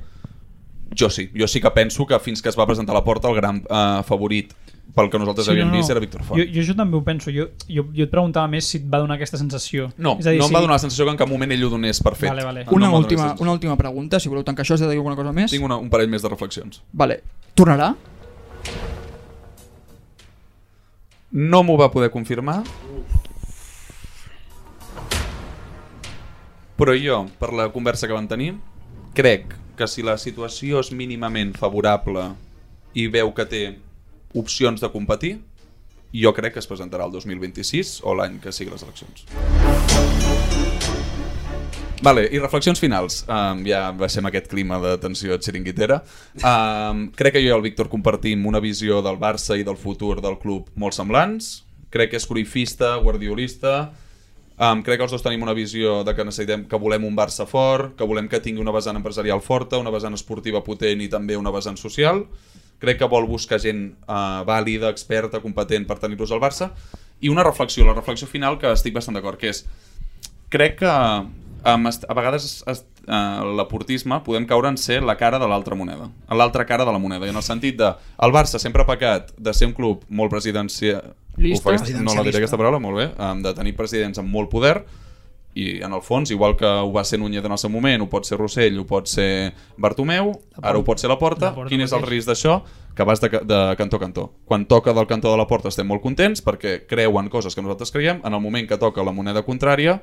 Jo sí, jo sí que penso que fins que es va presentar a la porta el gran eh, favorit pel que nosaltres sí, havíem no, no. vist era Víctor Font.
Jo, jo això també ho penso. Jo, jo, jo et preguntava més si et va donar aquesta sensació.
No,
És a dir,
no em
si...
va donar la sensació que en cap moment ell ho donés per fet.
Vale, vale.
No em
Una,
va donar la
última,
sensació.
una última pregunta, si voleu tancar això, has de dir alguna cosa més?
Tinc una, un parell més de reflexions.
Vale. Tornarà?
No m'ho va poder confirmar. Però jo, per la conversa que vam tenir, crec que si la situació és mínimament favorable i veu que té opcions de competir, jo crec que es presentarà el 2026 o l'any que sigui les eleccions. Vale, i reflexions finals. Um, ja baixem aquest clima de tensió xiringuitera. Um, crec que jo i el Víctor compartim una visió del Barça i del futur del club molt semblants. Crec que és cruifista, guardiolista. Um, crec que els dos tenim una visió de que necessitem que volem un Barça fort, que volem que tingui una vessant empresarial forta, una vessant esportiva potent i també una vessant social. Crec que vol buscar gent uh, vàlida, experta, competent per tenir-los al Barça. I una reflexió, la reflexió final que estic bastant d'acord, que és crec que um, a vegades es- es- eh, l'aportisme podem caure en ser la cara de l'altra moneda, en l'altra cara de la moneda, i en el sentit de el Barça sempre ha pecat de ser un club molt presidencia...
Lista.
Ho faig- No la diré aquesta paraula, molt bé, um, de tenir presidents amb molt poder, i en el fons, igual que ho va ser Núñez en el seu moment, ho pot ser Rossell, ho pot ser Bartomeu, ara ho pot ser la porta.
La Porta
Quin és el
mateix.
risc d'això? Que vas de, ca- de cantó a cantó. Quan toca del cantó de la porta estem molt contents perquè creuen coses que nosaltres creiem, en el moment que toca la moneda contrària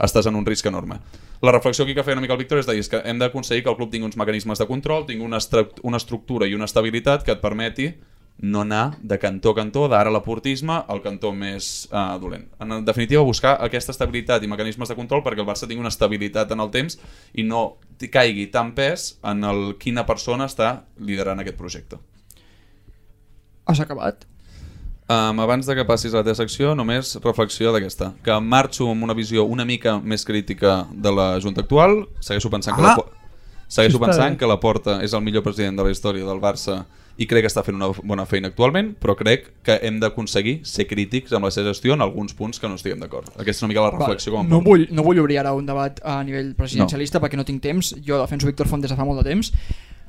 estàs en un risc enorme. La reflexió aquí que feia una mica el Víctor és de dir és que hem d'aconseguir que el club tingui uns mecanismes de control, tingui una, estruct- una estructura i una estabilitat que et permeti no anar de cantó a cantó, d'ara l'aportisme al cantó més uh, dolent. En definitiva, buscar aquesta estabilitat i mecanismes de control perquè el Barça tingui una estabilitat en el temps i no t- caigui tant pes en el quina persona està liderant aquest projecte.
Has acabat?
Um, abans de que passis a la teva secció, només reflexió d'aquesta, que marxo amb una visió una mica més crítica de la Junta actual, segueixo pensant que
Ah!
la... po- Segueixo
Això està
pensant
bé.
que la Porta és el millor president de la història del Barça i crec que està fent una bona feina actualment, però crec que hem d'aconseguir ser crítics amb la seva gestió en alguns punts que no estiguem d'acord. Aquesta és una mica la reflexió com a
no
punt.
vull, no vull obrir ara un debat a nivell presidencialista no. perquè no tinc temps, jo defenso Víctor Font des de fa molt de temps.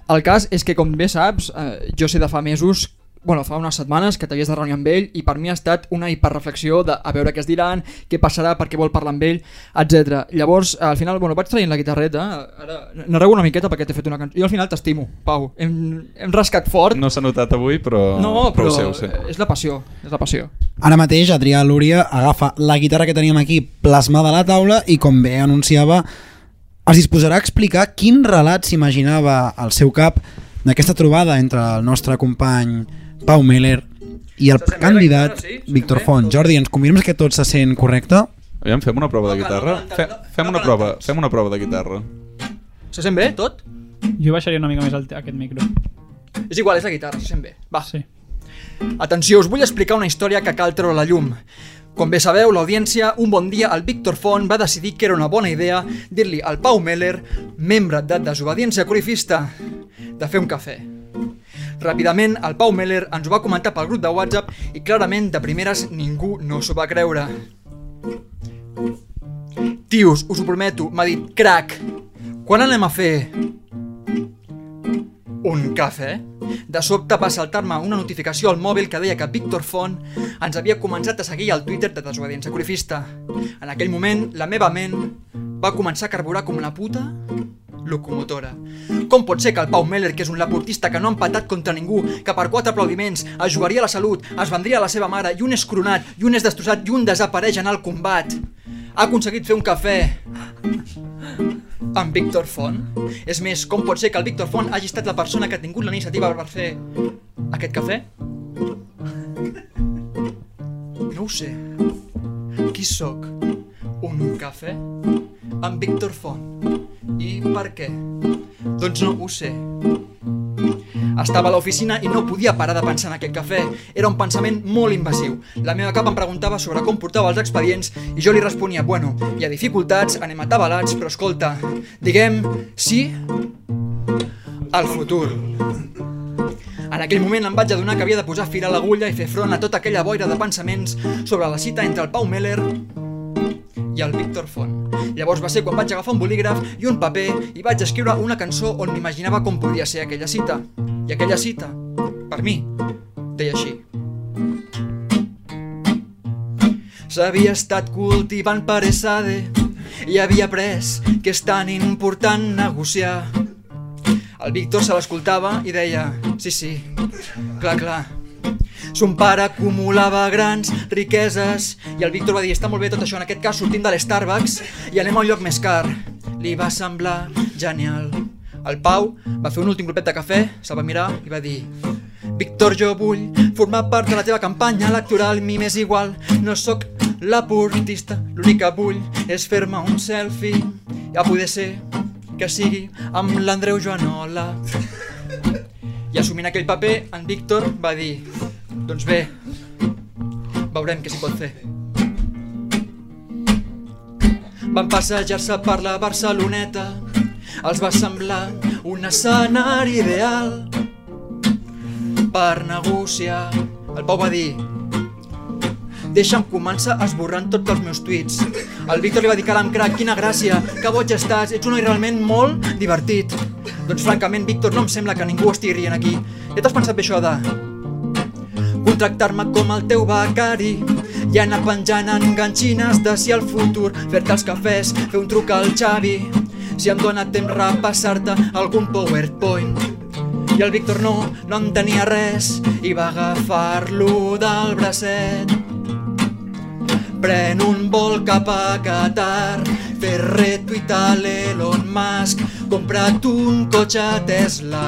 El cas és que, com bé saps, eh, jo sé de fa mesos bueno, fa unes setmanes que t'havies de reunir amb ell i per mi ha estat una hiperreflexió de a veure què es diran, què passarà, per què vol parlar amb ell, etc. Llavors, al final, bueno, vaig traient la guitarreta, ara narrego una miqueta perquè t'he fet una cançó. Jo al final t'estimo, Pau. Hem, hem rascat fort.
No s'ha notat avui, però...
No, però,
però ho sé, ho sé.
és la passió, és la passió.
Ara mateix Adrià Lúria agafa la guitarra que teníem aquí plasmada a la taula i com bé anunciava es disposarà a explicar quin relat s'imaginava al seu cap d'aquesta trobada entre el nostre company Pau Meller i el candidat Víctor Font. Jordi, ens confirmes que tot se sent correcte?
Aviam, fem una prova de guitarra. Fem, fem, una prova, fem una prova de guitarra.
Se sent bé, tot?
Jo baixaria una mica més el, aquest micro.
És igual, és la guitarra, se sent bé. Va. Sí. Atenció, us vull explicar una història que cal treure a la llum. Com bé sabeu, l'audiència, un bon dia el Víctor Font va decidir que era una bona idea dir-li al Pau Meller, membre de Desobediència Corifista, de fer un cafè. Ràpidament, el Pau Meller ens ho va comentar pel grup de WhatsApp i clarament, de primeres, ningú no s'ho va creure. Tios, us ho prometo, m'ha dit, crac, quan anem a fer un cafè? De sobte va saltar-me una notificació al mòbil que deia que Víctor Font ens havia començat a seguir al Twitter de Desobediència Corifista. En aquell moment, la meva ment va començar a carburar com una puta locomotora. Com pot ser que el Pau Meller, que és un laportista que no ha empatat contra ningú, que per quatre aplaudiments es jugaria la salut, es vendria a la seva mare, i un és coronat, i un és destrossat, i un desapareix en el combat, ha aconseguit fer un cafè amb Víctor Font? És més, com pot ser que el Víctor Font hagi estat la persona que ha tingut la iniciativa per fer aquest cafè? No ho sé. Qui sóc? Un cafè? amb Víctor Font. I per què? Doncs no ho sé. Estava a l'oficina i no podia parar de pensar en aquest cafè. Era un pensament molt invasiu. La meva capa em preguntava sobre com portava els expedients i jo li responia, bueno, hi ha dificultats, anem atabalats, però escolta, diguem sí al futur. En aquell moment em vaig adonar que havia de posar fil a l'agulla i fer front a tota aquella boira de pensaments sobre la cita entre el Pau Meller i el Víctor Font. Llavors va ser quan vaig agafar un bolígraf i un paper i vaig escriure una cançó on m'imaginava com podia ser aquella cita. I aquella cita, per mi, deia així. S'havia estat cultivant per SAD i havia après que és tan important negociar. El Víctor se l'escoltava i deia, sí, sí, clar, clar, Son pare acumulava grans riqueses i el Víctor va dir, està molt bé tot això, en aquest cas sortim de l'Starbucks i anem a un lloc més car. Li va semblar genial. El Pau va fer un últim glopet de cafè, se'l va mirar i va dir Víctor, jo vull formar part de la teva campanya electoral, mi m'és igual, no sóc l'aportista, l'únic que vull és fer-me un selfie, a poder ser que sigui amb l'Andreu Joanola. I assumint aquell paper, en Víctor va dir doncs bé, veurem què s'hi pot fer. Van passejar-se per la Barceloneta, els va semblar un escenari ideal per negociar. El Pau va dir, deixa'm començar esborrant tots els meus tuits. El Víctor li va dir, caram, crac, quina gràcia, que boig estàs, ets un noi realment molt divertit. Doncs francament, Víctor, no em sembla que ningú estigui rient aquí. Ja t'has pensat bé això de contractar-me com el teu becari i anar penjant enganxines de si al futur, fer-te els cafès, fer un truc al Xavi, si em dóna temps repassar-te algun powerpoint. I el Víctor no, no en tenia res i va agafar-lo del bracet. Pren un vol cap a Qatar, fer retweet a l'Elon Musk, compra't un cotxe Tesla,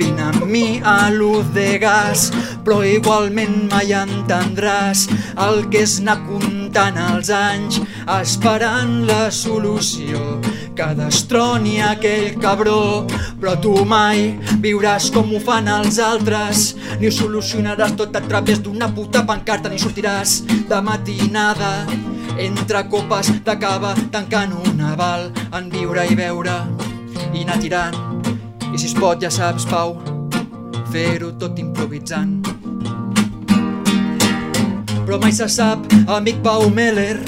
vine amb mi a l'ús de gas, però igualment mai entendràs el que és anar comptant els anys, esperant la solució que destroni aquell cabró, però tu mai viuràs com ho fan els altres, ni ho solucionaràs tot a través d'una puta pancarta, ni sortiràs de matinada entre copes de cava tancant un aval en viure i veure i anar tirant i si es pot ja saps Pau fer-ho tot improvisant però mai se sap amic Pau Meller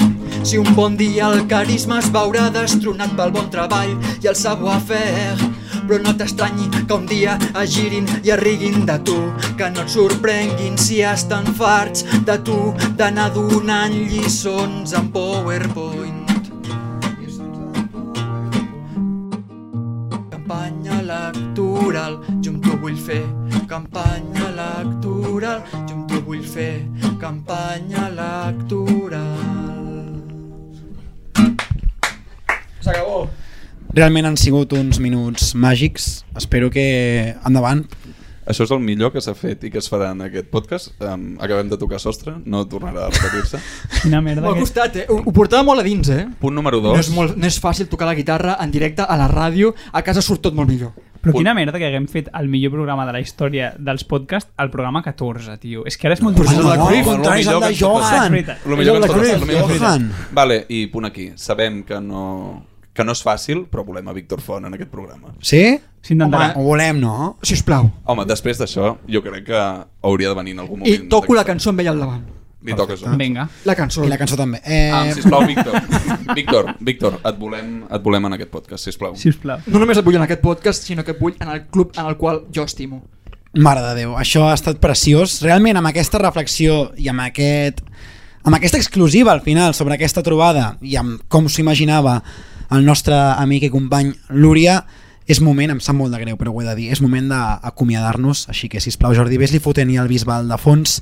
si un bon dia el carisma es veurà destronat pel bon treball i el savoir-faire però no t'estranyi que un dia es girin i arriguin de tu, que no et sorprenguin si estan farts de tu d'anar donant lliçons en PowerPoint. Campanya electoral, jo amb tu vull fer campanya electoral, jo amb tu vull fer campanya electoral. S'acabó.
Realment han sigut uns minuts màgics. Espero que... Endavant.
Això és el millor que s'ha fet i que es farà en aquest podcast. Um, acabem de tocar sostre, no tornarà a
[LAUGHS]
repetir-se.
Quina merda.
Al
Que...
costat, eh? Ho, ho portava molt a dins, eh?
Punt número
No
2.
és, molt, no és fàcil tocar la guitarra en directe a la ràdio, a casa surt tot molt millor.
Però quina merda que haguem fet el millor programa de la història dels podcasts, el programa 14, tio. És que ara és molt
Però és el de Cruyff, contra és el de Johan.
Lo
És
millor que ens pot passar. lo
el de Cruyff,
millor que ens pot
Johan.
passar. Vale, i punt aquí. Sabem que no, que no és fàcil, però volem a Víctor Font en aquest programa.
Sí?
S'intentarà.
Ho volem, no?
Si us plau.
Home, després d'això, jo crec que hauria de venir en algun
I
moment.
toco la cançó amb ella al davant.
Li toques un.
Vinga.
La cançó.
I la cançó també. Eh...
Ah, sisplau, Víctor. Víctor, Víctor, et volem, et volem en aquest podcast, sisplau.
Sisplau.
No només et vull en aquest podcast, sinó que et vull en el club en el qual jo estimo.
Mare de Déu, això ha estat preciós. Realment, amb aquesta reflexió i amb aquest amb aquesta exclusiva al final sobre aquesta trobada i amb com s'ho imaginava el nostre amic i company Lúria, és moment, em sap molt de greu, però ho he de dir, és moment d'acomiadar-nos, així que, si plau Jordi, vés-li fotent i el Bisbal de fons.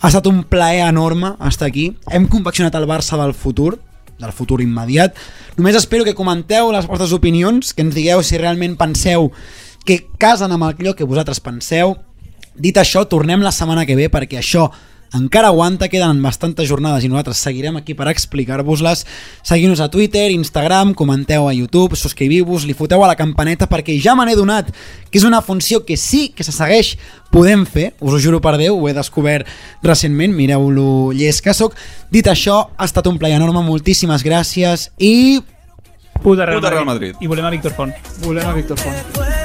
Ha estat un plaer enorme estar aquí. Hem confeccionat el Barça del futur, del futur immediat. Només espero que comenteu les vostres opinions, que ens digueu si realment penseu que casen amb el lloc que vosaltres penseu. Dit això, tornem la setmana que ve perquè això encara aguanta, queden bastantes jornades i nosaltres seguirem aquí per explicar-vos-les. Seguiu-nos a Twitter, Instagram, comenteu a YouTube, subscriviu-vos, li foteu a la campaneta perquè ja me n'he donat, que és una funció que sí que se segueix podem fer, us ho juro per Déu, ho he descobert recentment, mireu-lo llest que sóc. Dit això, ha estat un plaer enorme, moltíssimes gràcies i
Puta Real,
Puta Real
Madrid. I volem a Víctor Font.
Volem a Víctor Font.